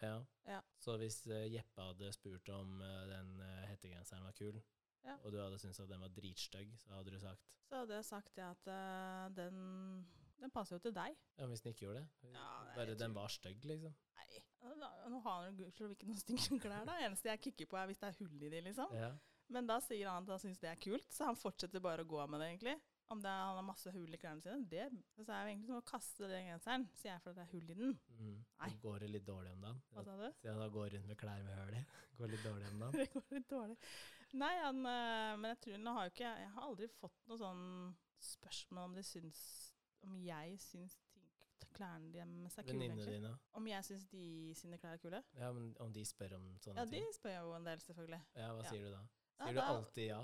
[SPEAKER 1] Ja.
[SPEAKER 2] Ja.
[SPEAKER 1] Så hvis eh, Jeppe hadde spurt om eh, den eh, hettegenseren var kul,
[SPEAKER 2] Ja.
[SPEAKER 1] og du hadde syntes at den var dritstygg, så hadde du sagt
[SPEAKER 2] Så hadde jeg sagt det at eh, den, den passer jo til deg.
[SPEAKER 1] Ja, hvis den ikke gjorde det.
[SPEAKER 2] Ja, det er
[SPEAKER 1] Bare
[SPEAKER 2] helt
[SPEAKER 1] den var stygg, liksom.
[SPEAKER 2] Nei, da- nå har han jo gudskjelov ikke noen stygge klær, da. Eneste jeg kikker på, er hvis det er hull i de, liksom.
[SPEAKER 1] Ja.
[SPEAKER 2] Men da sier han at han syns det er kult, så han fortsetter bare å gå med det, egentlig. Om det er, han har masse hull i klærne sine, det Så er det egentlig som å kaste den genseren, sier jeg, for det er hull i den.
[SPEAKER 1] Mm.
[SPEAKER 2] Nei.
[SPEAKER 1] Nå går det litt dårlig om dagen.
[SPEAKER 2] Hva sa du?
[SPEAKER 1] Så jeg da går rundt med klær med høl i. Går litt dårlig om dagen.
[SPEAKER 2] Det går litt dårlig. Nei, han, eh, men jeg tror nå har jo ikke Jeg har aldri fått noe sånn spørsmål om de syns Om jeg syns ting, klærne deres er kule,
[SPEAKER 1] Venninnene
[SPEAKER 2] egentlig.
[SPEAKER 1] dine.
[SPEAKER 2] Om jeg syns de sine klær er kule?
[SPEAKER 1] Ja, men om de spør om sånne
[SPEAKER 2] Ja, de
[SPEAKER 1] ting.
[SPEAKER 2] spør jeg jo en del, selvfølgelig.
[SPEAKER 1] Ja, hva
[SPEAKER 2] Ja.
[SPEAKER 1] sier du da?
[SPEAKER 2] Ja,
[SPEAKER 1] Sier du
[SPEAKER 2] da-
[SPEAKER 1] alltid ja?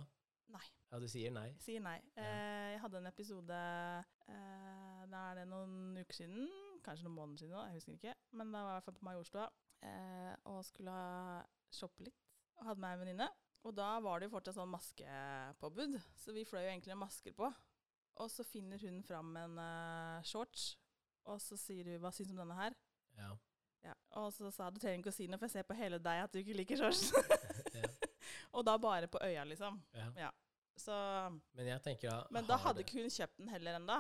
[SPEAKER 2] Nei.
[SPEAKER 1] Ja, du sier nei.
[SPEAKER 2] Jeg sier nei. Eh, jeg hadde en episode eh, Da er det noen uker siden, kanskje noen måneder siden, nå, jeg husker ikke. Men da var jeg i hvert fall på Majorstua eh, og skulle ha- shoppe litt. Og hadde med ei venninne. Og da var det jo fortsatt sånn maskepåbud, så vi fløy jo egentlig med masker på. Og så finner hun fram en eh, shorts, og så sier hun 'hva syns du om denne her'?
[SPEAKER 1] Ja.
[SPEAKER 2] Ja. Og så sa du trenger ikke å si noe, for jeg ser på hele deg at du ikke liker shorts.
[SPEAKER 1] Ja.
[SPEAKER 2] og da bare på øya, liksom.
[SPEAKER 1] ja.
[SPEAKER 2] Så
[SPEAKER 1] Men jeg tenker da
[SPEAKER 2] men da
[SPEAKER 1] har
[SPEAKER 2] hadde
[SPEAKER 1] det-
[SPEAKER 2] ikke hun kjøpt den heller ennå.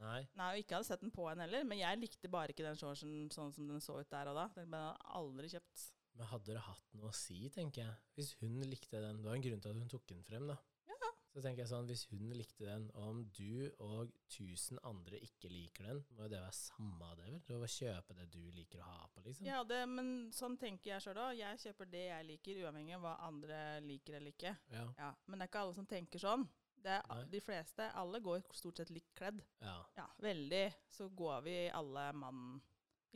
[SPEAKER 1] Nei.
[SPEAKER 2] Nei, og ikke hadde sett den på henne heller. Men jeg likte bare ikke den shortsen sånn som den så ut der og da. Den ble aldri kjøpt.
[SPEAKER 1] Men hadde det hatt noe å si, tenker jeg. Hvis hun likte den Det var en grunn til at hun tok den frem, da. Så tenker jeg sånn, hvis hun likte den, og om du og tusen andre ikke liker den, må jo det være samme av det, vel? Du må bare kjøpe det du liker å ha på, liksom.
[SPEAKER 2] Ja, det, men sånn tenker jeg sjøl òg. Jeg kjøper det jeg liker, uavhengig av hva andre liker eller ikke.
[SPEAKER 1] Ja.
[SPEAKER 2] Ja, Men det er ikke alle som tenker sånn. Det er
[SPEAKER 1] Nei.
[SPEAKER 2] de fleste. Alle går stort sett likt kledd.
[SPEAKER 1] ja.
[SPEAKER 2] Ja, veldig. Så går vi alle mann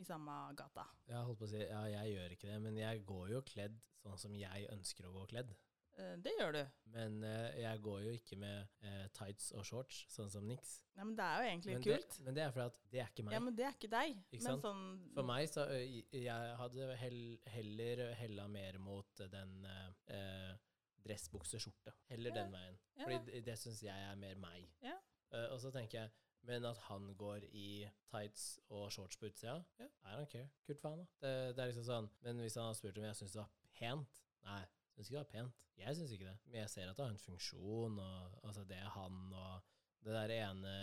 [SPEAKER 2] i samme gata.
[SPEAKER 1] Jeg holdt på å si ja, jeg gjør ikke det, men jeg går jo kledd sånn som jeg ønsker å gå kledd.
[SPEAKER 2] Eh, Det gjør du.
[SPEAKER 1] Men eh, jeg går jo ikke med eh, tights og shorts, sånn som Nix.
[SPEAKER 2] Nei, men det er jo egentlig
[SPEAKER 1] Men det,
[SPEAKER 2] kult.
[SPEAKER 1] men det er fordi at det er ikke meg.
[SPEAKER 2] ja, men det er ikke deg.
[SPEAKER 1] Ikke
[SPEAKER 2] men
[SPEAKER 1] sant?
[SPEAKER 2] sånn
[SPEAKER 1] For meg så ø, i- Jeg hadde hell, heller hella mer mot den eh, eh, dressbukseskjorte. Heller
[SPEAKER 2] Ja.
[SPEAKER 1] den veien.
[SPEAKER 2] Ja.
[SPEAKER 1] Fordi det, det syns jeg er mer meg.
[SPEAKER 2] Ja.
[SPEAKER 1] Eh, og så tenker jeg men at han går i tights og shorts på utsida, ja, I don't care. Kult faen, da. Det, det er liksom sånn. Men hvis han hadde spurt om jeg syntes det var pent Nei, syns ikke det var pent. Jeg syns ikke det. Men jeg ser at det har en funksjon, og altså, det er han og Det der ene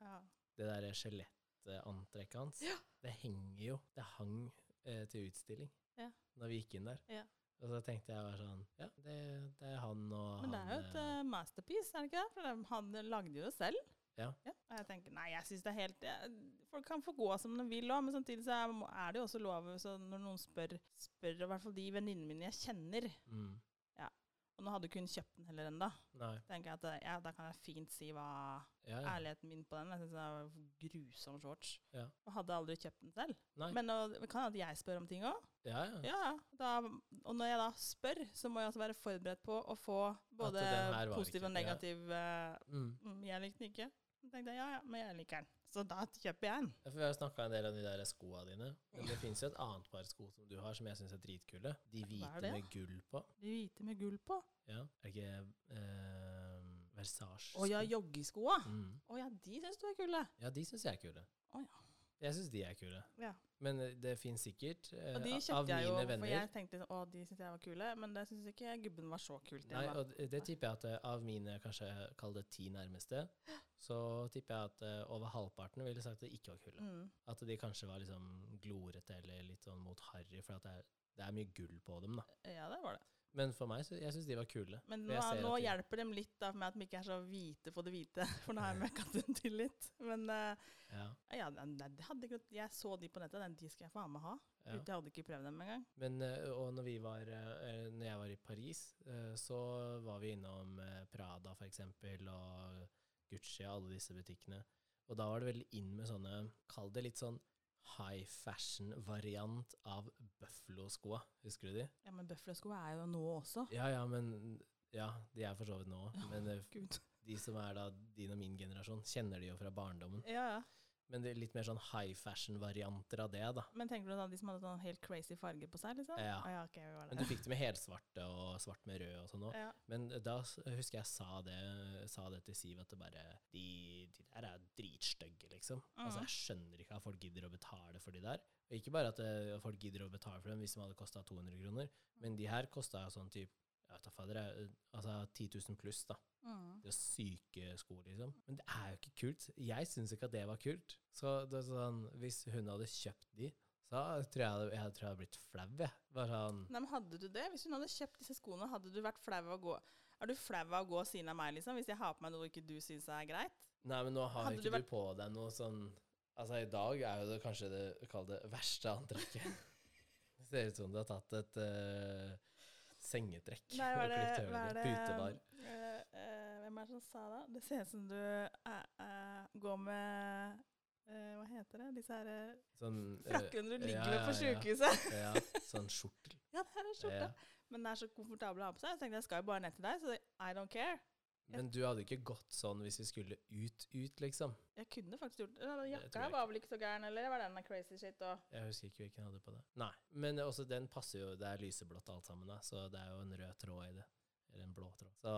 [SPEAKER 2] ja.
[SPEAKER 1] det der skjelettantrekket hans,
[SPEAKER 2] Ja.
[SPEAKER 1] det henger jo. Det hang eh, til utstilling
[SPEAKER 2] Ja.
[SPEAKER 1] når vi gikk inn der.
[SPEAKER 2] Ja.
[SPEAKER 1] Og så tenkte jeg bare sånn Ja, det, det er han og
[SPEAKER 2] Men det
[SPEAKER 1] han
[SPEAKER 2] er jo et
[SPEAKER 1] eh,
[SPEAKER 2] eh, masterpiece, er det ikke det? For det- han lagde jo det selv.
[SPEAKER 1] Ja.
[SPEAKER 2] Og jeg tenker, nei, jeg syns det er helt eh, Folk kan få gå som de vil òg, men samtidig så er, er det jo også lov så når noen spør, spør og i hvert fall de venninnene mine jeg kjenner
[SPEAKER 1] eh, mm,
[SPEAKER 2] Og nå hadde ikke hun kjøpt den heller ennå.
[SPEAKER 1] Nei.
[SPEAKER 2] tenker jeg at eh, ja, da kan jeg fint si hva
[SPEAKER 1] Ja, ja.
[SPEAKER 2] ærligheten min på den. Jeg syns den er grusom shorts.
[SPEAKER 1] Ja.
[SPEAKER 2] Og hadde aldri kjøpt den selv.
[SPEAKER 1] Nei.
[SPEAKER 2] Men nå kan at jeg spør om ting òg.
[SPEAKER 1] ja, ja.
[SPEAKER 2] Ja, da, og når jeg da spør, så må jeg også være forberedt på å få både
[SPEAKER 1] den her var
[SPEAKER 2] positiv
[SPEAKER 1] ikke-
[SPEAKER 2] og negativ eh,
[SPEAKER 1] Mm.
[SPEAKER 2] mm, 'Jeg likte den ikke'. Så tenkte jeg ja, ja, men jeg liker den. Så da kjøper jeg den.
[SPEAKER 1] Ja, for Vi har snakka en del om de der skoa dine. Men det fins jo et annet par sko som du har, som jeg syns er dritkule. De
[SPEAKER 2] Hva er
[SPEAKER 1] hvite
[SPEAKER 2] det?
[SPEAKER 1] med gull på.
[SPEAKER 2] De hvite med gull på.
[SPEAKER 1] Ja. Er det ikke eh, Versage?
[SPEAKER 2] Å ja, joggeskoa.
[SPEAKER 1] Mm.
[SPEAKER 2] Å ja, de syns du er kule.
[SPEAKER 1] Ja, de syns jeg er kule.
[SPEAKER 2] Å
[SPEAKER 1] Jeg syns de er kule.
[SPEAKER 2] Ja.
[SPEAKER 1] Men eh, det fins sikkert eh,
[SPEAKER 2] Og de
[SPEAKER 1] av
[SPEAKER 2] kjøpte
[SPEAKER 1] mine
[SPEAKER 2] jeg jo, for
[SPEAKER 1] venner
[SPEAKER 2] jeg tenkte sånn, å, de syns jeg var kule, men det syns ikke gubben var så kult.
[SPEAKER 1] Nei,
[SPEAKER 2] igjen, da.
[SPEAKER 1] og det- det tipper jeg at eh, av mine kanskje kall det ti nærmeste, så tipper jeg at eh, over halvparten ville sagt at det ikke var kule.
[SPEAKER 2] Mm.
[SPEAKER 1] At de kanskje var liksom glorete eller litt sånn mot harry, for at det er, det er mye gull på dem, da.
[SPEAKER 2] Ja, det var det.
[SPEAKER 1] Men for meg, så, jeg syns de var kule.
[SPEAKER 2] Men
[SPEAKER 1] For
[SPEAKER 2] nå,
[SPEAKER 1] jeg ser
[SPEAKER 2] nå
[SPEAKER 1] at de-
[SPEAKER 2] hjelper dem litt da, med at de ikke er så hvite på det hvite, for nå har jeg møkka dem til litt. Men eh,
[SPEAKER 1] Ja,
[SPEAKER 2] ja, nei, det hadde ikke noe Jeg så de på nettet, den de skal jeg faen meg ha.
[SPEAKER 1] ja.
[SPEAKER 2] Jeg hadde ikke prøvd dem engang.
[SPEAKER 1] Men eh, og når, vi var, eh, eh, når jeg var i Paris, eh, så var vi innom eh, Prada for eksempel, og Gucci og alle disse butikkene. Og da var det veldig inn med sånne, kall det litt sånn high fashion-variant av Buffalo-skoa. Husker du de?
[SPEAKER 2] Ja, men bøffelsko er jo nå også.
[SPEAKER 1] Ja, ja, men ja, de er for så vidt nå. også, Men eh,
[SPEAKER 2] Gud.
[SPEAKER 1] de som er da din og min generasjon, kjenner de jo fra barndommen.
[SPEAKER 2] Ja, ja.
[SPEAKER 1] Men det er litt mer sånn high fashion-varianter av det, da.
[SPEAKER 2] Men tenker du da de som hadde sånn helt crazy farge på seg, liksom?
[SPEAKER 1] Ja.
[SPEAKER 2] Å, ja ok, vi var
[SPEAKER 1] Men du
[SPEAKER 2] det.
[SPEAKER 1] fikk det med helsvarte og svart med rød og sånn òg.
[SPEAKER 2] Ja.
[SPEAKER 1] Men da s- husker jeg sa det, sa det til Siv, at det bare De, de der er dritstygge, liksom. Altså,
[SPEAKER 2] Mhm.
[SPEAKER 1] jeg skjønner ikke at folk gidder å betale for de der. Og ikke bare at eh, folk gidder å betale for dem hvis de hadde kosta 200 kroner, men de her kosta sånn type jeg vet da fader, jeg, altså 10 000 pluss, da.
[SPEAKER 2] Mm.
[SPEAKER 1] Det er syke sko, liksom. Men det er jo ikke kult. Jeg syns ikke at det var kult. Så det er sånn, hvis hun hadde kjøpt de, så tror jeg jeg, tror jeg hadde blitt flau, jeg. Bare sånn
[SPEAKER 2] Nei, men hadde du det? Hvis hun hadde kjøpt disse skoene, hadde du vært flau av å gå Er du flau av å gå siden av meg, liksom? Hvis jeg har på meg noe ikke du syns er greit?
[SPEAKER 1] Nei, men nå har
[SPEAKER 2] Hadde
[SPEAKER 1] ikke
[SPEAKER 2] du
[SPEAKER 1] du på deg noe sånn Altså, i dag er jo det kanskje det kall det verste antrekket. det ser ut som du har tatt et eh, sengetrekk
[SPEAKER 2] Nei, hva er
[SPEAKER 1] og klippet
[SPEAKER 2] det,
[SPEAKER 1] hølet.
[SPEAKER 2] hva er det
[SPEAKER 1] Putebar.
[SPEAKER 2] eh, eh, Hvem er det som sa det? Det ser ut som du eh, eh, går med eh, Hva heter det? Disse her eh,
[SPEAKER 1] Sånn, eh,
[SPEAKER 2] frakkene du ligger
[SPEAKER 1] ja,
[SPEAKER 2] med på
[SPEAKER 1] ja, ja.
[SPEAKER 2] sjukehuset.
[SPEAKER 1] ja, sånn skjortel.
[SPEAKER 2] Ja, det er en skjorte.
[SPEAKER 1] Ja.
[SPEAKER 2] Men den er så komfortabel å ha på seg. Jeg tenkte jeg skal jo bare ned til deg, så det- I don't care.
[SPEAKER 1] Men du hadde ikke gått sånn hvis vi skulle ut, ut, liksom.
[SPEAKER 2] Jeg kunne faktisk gjort det. Eller,
[SPEAKER 1] Det tror
[SPEAKER 2] Jakka
[SPEAKER 1] jeg
[SPEAKER 2] var vel ikke så gæren, eller var den crazy shit òg?
[SPEAKER 1] Jeg husker ikke hvilken jeg hadde på det. Nei, men også den passer jo, det er lyseblått alt sammen, da, så det er jo en rød tråd i det. Eller en blå tråd. Så,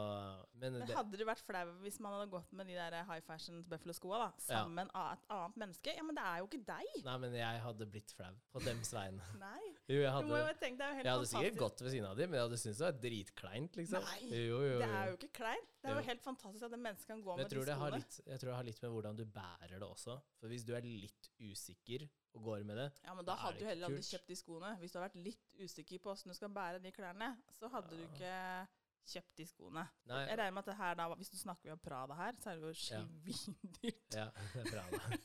[SPEAKER 1] men
[SPEAKER 2] Men
[SPEAKER 1] det,
[SPEAKER 2] hadde du vært flau hvis man hadde gått med de der high fashion buffalo-skoa da, sammen av et annet menneske? Ja, men det er jo ikke deg!
[SPEAKER 1] nei, men jeg hadde blitt flau på dems vegne.
[SPEAKER 2] Nei.
[SPEAKER 1] Jo, jeg
[SPEAKER 2] Du
[SPEAKER 1] hadde
[SPEAKER 2] må
[SPEAKER 1] det.
[SPEAKER 2] jo tenke, det er jo helt
[SPEAKER 1] Jeg hadde sikkert
[SPEAKER 2] fantastisk.
[SPEAKER 1] gått ved siden av dem, men jeg hadde syntes det var dritkleint, liksom.
[SPEAKER 2] Nei,
[SPEAKER 1] jo, jo, jo.
[SPEAKER 2] Det er jo ikke kleint. Det er jo
[SPEAKER 1] Jo.
[SPEAKER 2] helt fantastisk at et menneske kan gå
[SPEAKER 1] Men jeg
[SPEAKER 2] med de
[SPEAKER 1] tror, det har
[SPEAKER 2] skoene.
[SPEAKER 1] litt, jeg tror det har litt med hvordan du bærer det også. For hvis du er litt usikker og går med det
[SPEAKER 2] Ja, men
[SPEAKER 1] Da
[SPEAKER 2] da
[SPEAKER 1] er det
[SPEAKER 2] hadde du
[SPEAKER 1] ikke
[SPEAKER 2] heller aldri
[SPEAKER 1] kult.
[SPEAKER 2] kjøpt de skoene. Hvis du hadde vært litt usikker på åssen du skal bære de klærne, så hadde du
[SPEAKER 1] Ja.
[SPEAKER 2] ikke kjøpt de skoene.
[SPEAKER 1] Nei,
[SPEAKER 2] Jeg regner med at det her da, hvis du snakker om Prada her, så er det jo
[SPEAKER 1] Ja.
[SPEAKER 2] svindyrt.
[SPEAKER 1] ja, det er bra, da.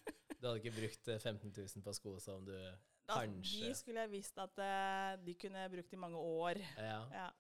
[SPEAKER 1] Du hadde ikke brukt eh, 15 000 på sko som du
[SPEAKER 2] Altså, de
[SPEAKER 1] Kanskje.
[SPEAKER 2] skulle jeg visst at eh, de kunne brukt i mange år.
[SPEAKER 1] Ja,
[SPEAKER 2] Ja.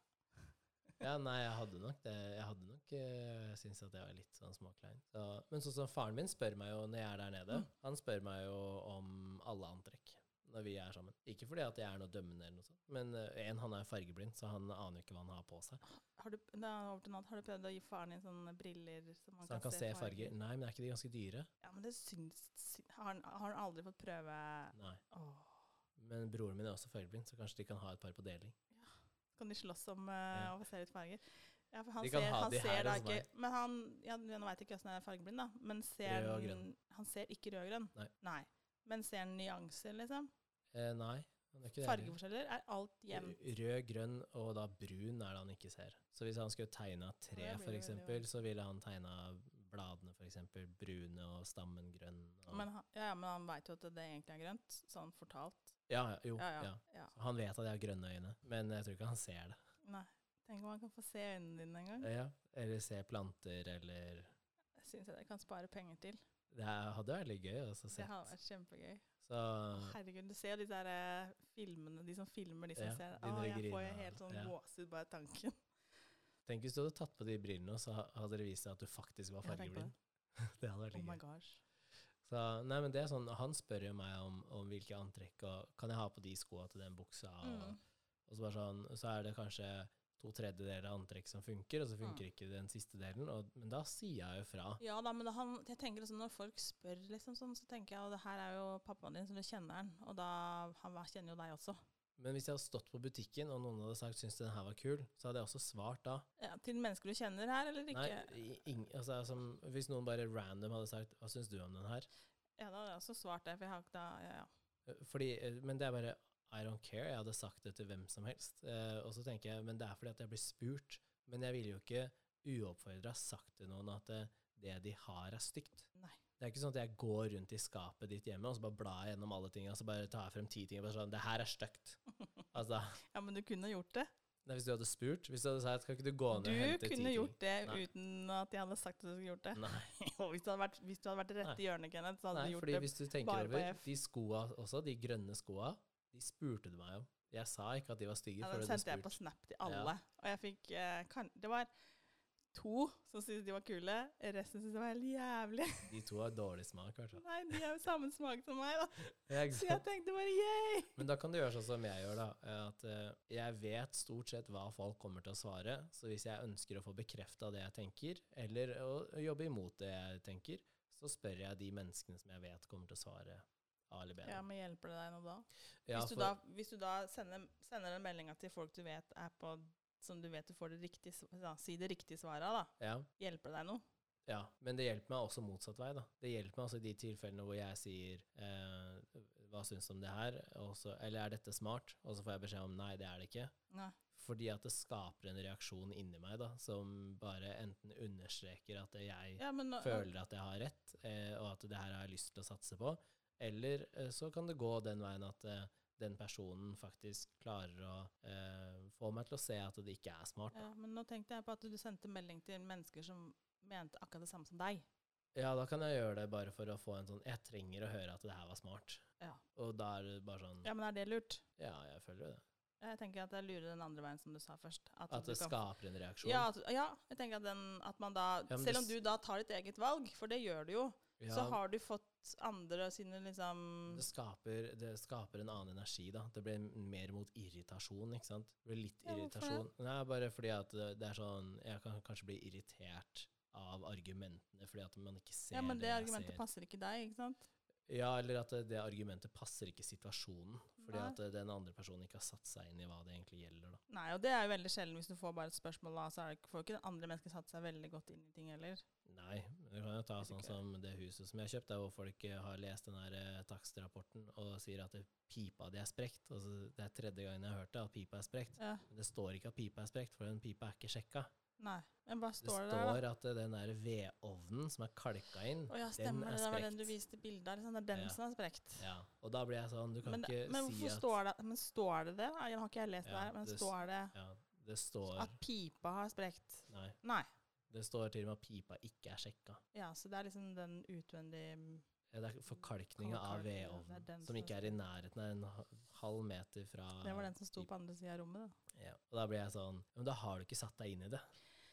[SPEAKER 1] ja nei, jeg hadde nok det. Jeg hadde nok eh, syntes at det var litt sånn småklein. Så, men sånn som faren min spør meg jo når jeg er der nede, han spør meg jo om alle antrekk når vi er sammen. Ikke fordi at jeg er noe dømmende eller noe sånt, men eh, en, han er fargeblind, så han aner jo ikke hva han har på seg.
[SPEAKER 2] Har, du, da, over til noe annet. har du prøvd å gi faren din sånne briller så man
[SPEAKER 1] Så han kan se farger. Nei, men er ikke de ganske dyre?
[SPEAKER 2] Ja, men det syns, sy- har, han, har han aldri fått prøve
[SPEAKER 1] Nei.
[SPEAKER 2] Åh.
[SPEAKER 1] Men broren min er også fargeblind, så kanskje de kan ha et par på deling.
[SPEAKER 2] kan de slåss om eh,
[SPEAKER 1] Ja.
[SPEAKER 2] å se ut farger. Ja, for han
[SPEAKER 1] De kan
[SPEAKER 2] ser,
[SPEAKER 1] ha
[SPEAKER 2] han
[SPEAKER 1] de her
[SPEAKER 2] ser da
[SPEAKER 1] hos
[SPEAKER 2] ikke Men han ja, Nå veit jeg ikke åssen han er fargeblind, da. Men ser
[SPEAKER 1] Rød og
[SPEAKER 2] den, han ser ikke rød og grønn.
[SPEAKER 1] Nei.
[SPEAKER 2] Men ser han nyanser, liksom?
[SPEAKER 1] Eh, nei, han er ikke det.
[SPEAKER 2] Fargeforskjeller? Er alt jevnt?
[SPEAKER 1] heller. Rød, grønn og da brun er det han ikke ser. Så hvis han skulle tegna
[SPEAKER 2] Ja,
[SPEAKER 1] tre,
[SPEAKER 2] det blir
[SPEAKER 1] for
[SPEAKER 2] veldig
[SPEAKER 1] eksempel, så ville han tegna bladene, for eksempel, brune og stammen grønn. Og
[SPEAKER 2] Men han, ja, ja, men han veit jo at det egentlig er grønt, sånn fortalt.
[SPEAKER 1] ja, ja, jo,
[SPEAKER 2] Ja,
[SPEAKER 1] Oh, ja,
[SPEAKER 2] ja. ja.
[SPEAKER 1] Han vet at jeg har grønne øyne, men jeg tror ikke han ser det.
[SPEAKER 2] Nei. Tenk om han kan få se øynene dine en gang.
[SPEAKER 1] Eh, Ja, eller ser planter, eller
[SPEAKER 2] Jeg syns jeg kan spare penger til.
[SPEAKER 1] Det er- hadde vært litt gøy også å se.
[SPEAKER 2] Det hadde vært kjempegøy.
[SPEAKER 1] Så
[SPEAKER 2] Herregud, du ser jo de der eh, filmene, de som filmer de som
[SPEAKER 1] Ja,
[SPEAKER 2] ser
[SPEAKER 1] de
[SPEAKER 2] Å, jeg får
[SPEAKER 1] negerina,
[SPEAKER 2] jo helt sånn
[SPEAKER 1] ja.
[SPEAKER 2] gåsehud bare tanken.
[SPEAKER 1] Tenk hvis du hadde tatt på de brillene, og så ha- hadde det vist seg at du faktisk var
[SPEAKER 2] Jeg har tenkt på
[SPEAKER 1] fargeblind. Det hadde vært
[SPEAKER 2] Oh
[SPEAKER 1] litt
[SPEAKER 2] my
[SPEAKER 1] gøy.
[SPEAKER 2] gosh.
[SPEAKER 1] Så, nei, men det er sånn, Han spør jo meg om, om hvilke antrekk og kan jeg ha på de skoa til den buksa. Og,
[SPEAKER 2] Mm.
[SPEAKER 1] og så, bare sånn, så er det kanskje to tredjedeler av antrekk som funker, og så funker
[SPEAKER 2] Mm.
[SPEAKER 1] ikke den siste delen. Og, men da sier jeg jo fra.
[SPEAKER 2] Ja da, men da han, jeg tenker liksom når folk spør, liksom sånn, så tenker jeg Og det her er jo pappaen din, så du kjenner han. Og da han var- kjenner jo deg også.
[SPEAKER 1] Men hvis jeg hadde stått på butikken, og noen hadde sagt syns den her var kul, så hadde jeg også svart da.
[SPEAKER 2] Ja, til mennesker du kjenner her, eller ikke?
[SPEAKER 1] Nei, i- ing, altså, som, hvis noen bare random hadde sagt hva syns du om den her?
[SPEAKER 2] Ja, da hadde jeg også svart det. For jeg har ikke da ja, ja.
[SPEAKER 1] Eh, Fordi, eh, men det er bare I don't care. Jeg hadde sagt det til hvem som helst. Eh, og så tenker jeg, men det er fordi at jeg blir spurt. Men jeg ville jo ikke uoppfordra sagt til noen at eh, det de har, er stygt.
[SPEAKER 2] Nei.
[SPEAKER 1] Det er ikke sånn at jeg går rundt i skapet ditt hjemme og så bare blar jeg gjennom alle tinga, så bare tar jeg frem ti ting og bare sånn Det her er stygt. Altså,
[SPEAKER 2] ja, men du kunne gjort det.
[SPEAKER 1] nei, hvis du hadde spurt Hvis du hadde sagt Skal ikke du gå ned
[SPEAKER 2] Du
[SPEAKER 1] og hente ti ting?
[SPEAKER 2] kunne gjort det
[SPEAKER 1] Nei.
[SPEAKER 2] uten at jeg hadde sagt at du skulle gjort det.
[SPEAKER 1] Nei.
[SPEAKER 2] Og hvis du hadde vært, hvis du hadde vært rett i hjørnet, Kenneth, så hadde
[SPEAKER 1] Nei,
[SPEAKER 2] du
[SPEAKER 1] fordi
[SPEAKER 2] gjort det.
[SPEAKER 1] hvis du tenker
[SPEAKER 2] bare på
[SPEAKER 1] over
[SPEAKER 2] F.
[SPEAKER 1] de skoa også, de grønne skoa, de spurte du meg om. Jeg sa ikke at de var stygge.
[SPEAKER 2] Ja,
[SPEAKER 1] før du
[SPEAKER 2] den
[SPEAKER 1] hadde
[SPEAKER 2] sendte jeg på
[SPEAKER 1] spurt.
[SPEAKER 2] Snap til alle. Og jeg fikk eh, kan, Det var to som syntes de var kule. Resten syntes de var helt jævlig.
[SPEAKER 1] De to har dårlig smak, i hvert fall.
[SPEAKER 2] Nei, de er jo samme smak som meg, da.
[SPEAKER 1] Ja, ikke
[SPEAKER 2] Så
[SPEAKER 1] sant?
[SPEAKER 2] jeg tenkte bare yeah!
[SPEAKER 1] Men da kan du gjøre sånn som jeg gjør, da. eh, At eh, jeg vet stort sett hva folk kommer til å svare. Så hvis jeg ønsker å få bekrefta det jeg tenker, eller å, å jobbe imot det jeg tenker, så spør jeg de menneskene som jeg vet kommer til å svare A eller B.
[SPEAKER 2] Ja, men hjelper det deg nå da?
[SPEAKER 1] Ja,
[SPEAKER 2] Hvis du
[SPEAKER 1] for-
[SPEAKER 2] da, hvis du da sender, sender den meldinga til folk du vet er på som du vet du får det riktige sv- da, Si det riktige svaret, av, da.
[SPEAKER 1] ja.
[SPEAKER 2] Hjelper det deg noe?
[SPEAKER 1] Ja, men det hjelper meg også motsatt vei. da. Det hjelper meg også i de tilfellene hvor jeg sier eh, 'hva syns du om det her', og så, eller 'er dette smart', og så får jeg beskjed om 'nei, det er det ikke'.
[SPEAKER 2] Nei.
[SPEAKER 1] Fordi at det skaper en reaksjon inni meg da, som bare enten understreker at jeg
[SPEAKER 2] Ja, men, nå-
[SPEAKER 1] føler at jeg har rett, eh, og at det her har jeg lyst til å satse på, eller eh, så kan det gå den veien at eh, den personen faktisk klarer å eh, få meg til å se at det ikke er smart. da.
[SPEAKER 2] ja, men nå tenkte jeg på at du sendte melding til mennesker som mente akkurat det samme som deg.
[SPEAKER 1] Ja, da kan jeg gjøre det bare for å få en sånn Jeg trenger å høre at det her var smart.
[SPEAKER 2] Ja.
[SPEAKER 1] Og da er det bare sånn Ja,
[SPEAKER 2] Ja, men er det lurt?
[SPEAKER 1] jeg føler jo det.
[SPEAKER 2] Jeg tenker at det er lurere den andre veien, som du sa først.
[SPEAKER 1] At det
[SPEAKER 2] Sånn du kan-
[SPEAKER 1] skaper en reaksjon.
[SPEAKER 2] ja, at, ja, jeg tenker at, den, at man da
[SPEAKER 1] men
[SPEAKER 2] Selv om
[SPEAKER 1] det s-
[SPEAKER 2] du da tar ditt eget valg, for det gjør du jo,
[SPEAKER 1] Ja,
[SPEAKER 2] så har du fått andre sine liksom
[SPEAKER 1] det skaper, det skaper en annen energi, da. Det blir mer mot irritasjon, ikke sant? Det blir litt
[SPEAKER 2] Ja, hvorfor det?
[SPEAKER 1] irritasjon. Nei, bare fordi at det det er sånn Jeg kan kanskje bli irritert av argumentene fordi at man ikke ser
[SPEAKER 2] Ja, men det
[SPEAKER 1] jeg
[SPEAKER 2] argumentet
[SPEAKER 1] ser.
[SPEAKER 2] passer ikke deg, ikke sant?
[SPEAKER 1] Ja, eller at det, det argumentet passer ikke situasjonen. Fordi
[SPEAKER 2] Nei.
[SPEAKER 1] at eh, den andre personen ikke har satt seg inn i hva det egentlig gjelder, da.
[SPEAKER 2] Nei, og det er jo veldig sjelden hvis du får bare et spørsmål, da, så er det ikke- får ikke den andre mennesket satt seg veldig godt inn i ting heller.
[SPEAKER 1] Nei, men du kan jo ta
[SPEAKER 2] Vet
[SPEAKER 1] sånn
[SPEAKER 2] ikke.
[SPEAKER 1] som det huset som jeg har kjøpt, der hvor folk eh, har lest den her eh, takstrapporten og sier at det pipa di er sprekt. Altså, det er tredje gangen jeg har hørt det, at pipa er sprekt.
[SPEAKER 2] Ja,
[SPEAKER 1] Men det står ikke at pipa er sprekt, for den pipa er ikke sjekka.
[SPEAKER 2] nei, men bare
[SPEAKER 1] Det
[SPEAKER 2] står
[SPEAKER 1] står,
[SPEAKER 2] det der, da.
[SPEAKER 1] at eh, den der vedovnen som er kalka inn,
[SPEAKER 2] Å ja,
[SPEAKER 1] den
[SPEAKER 2] stemmer
[SPEAKER 1] er
[SPEAKER 2] det. Det var den du
[SPEAKER 1] sprekt.
[SPEAKER 2] viste bilde av. liksom. Det er den
[SPEAKER 1] Ja.
[SPEAKER 2] som er sprekt.
[SPEAKER 1] Ja, og da blir jeg sånn, du kan
[SPEAKER 2] Men,
[SPEAKER 1] ikke
[SPEAKER 2] men
[SPEAKER 1] si
[SPEAKER 2] hvorfor
[SPEAKER 1] at
[SPEAKER 2] står det Men står det det? Nei, Nå har ikke jeg lest det
[SPEAKER 1] Ja,
[SPEAKER 2] her, men
[SPEAKER 1] det s-
[SPEAKER 2] står det
[SPEAKER 1] Ja, det står
[SPEAKER 2] at pipa har sprekt?
[SPEAKER 1] Nei.
[SPEAKER 2] Nei.
[SPEAKER 1] Det står til og med at pipa ikke er sjekka.
[SPEAKER 2] Ja, så det er liksom den utvendige
[SPEAKER 1] Ja, Det er forkalkninga
[SPEAKER 2] Kalkkalkninga,
[SPEAKER 1] av
[SPEAKER 2] det er den
[SPEAKER 1] vedovnen
[SPEAKER 2] som
[SPEAKER 1] som
[SPEAKER 2] er
[SPEAKER 1] ikke er i nærheten av en ha- halv meter fra
[SPEAKER 2] Det var den som sto på andre sida av rommet, da.
[SPEAKER 1] Ja. Og da blir jeg sånn Men da har du ikke satt deg inn i det.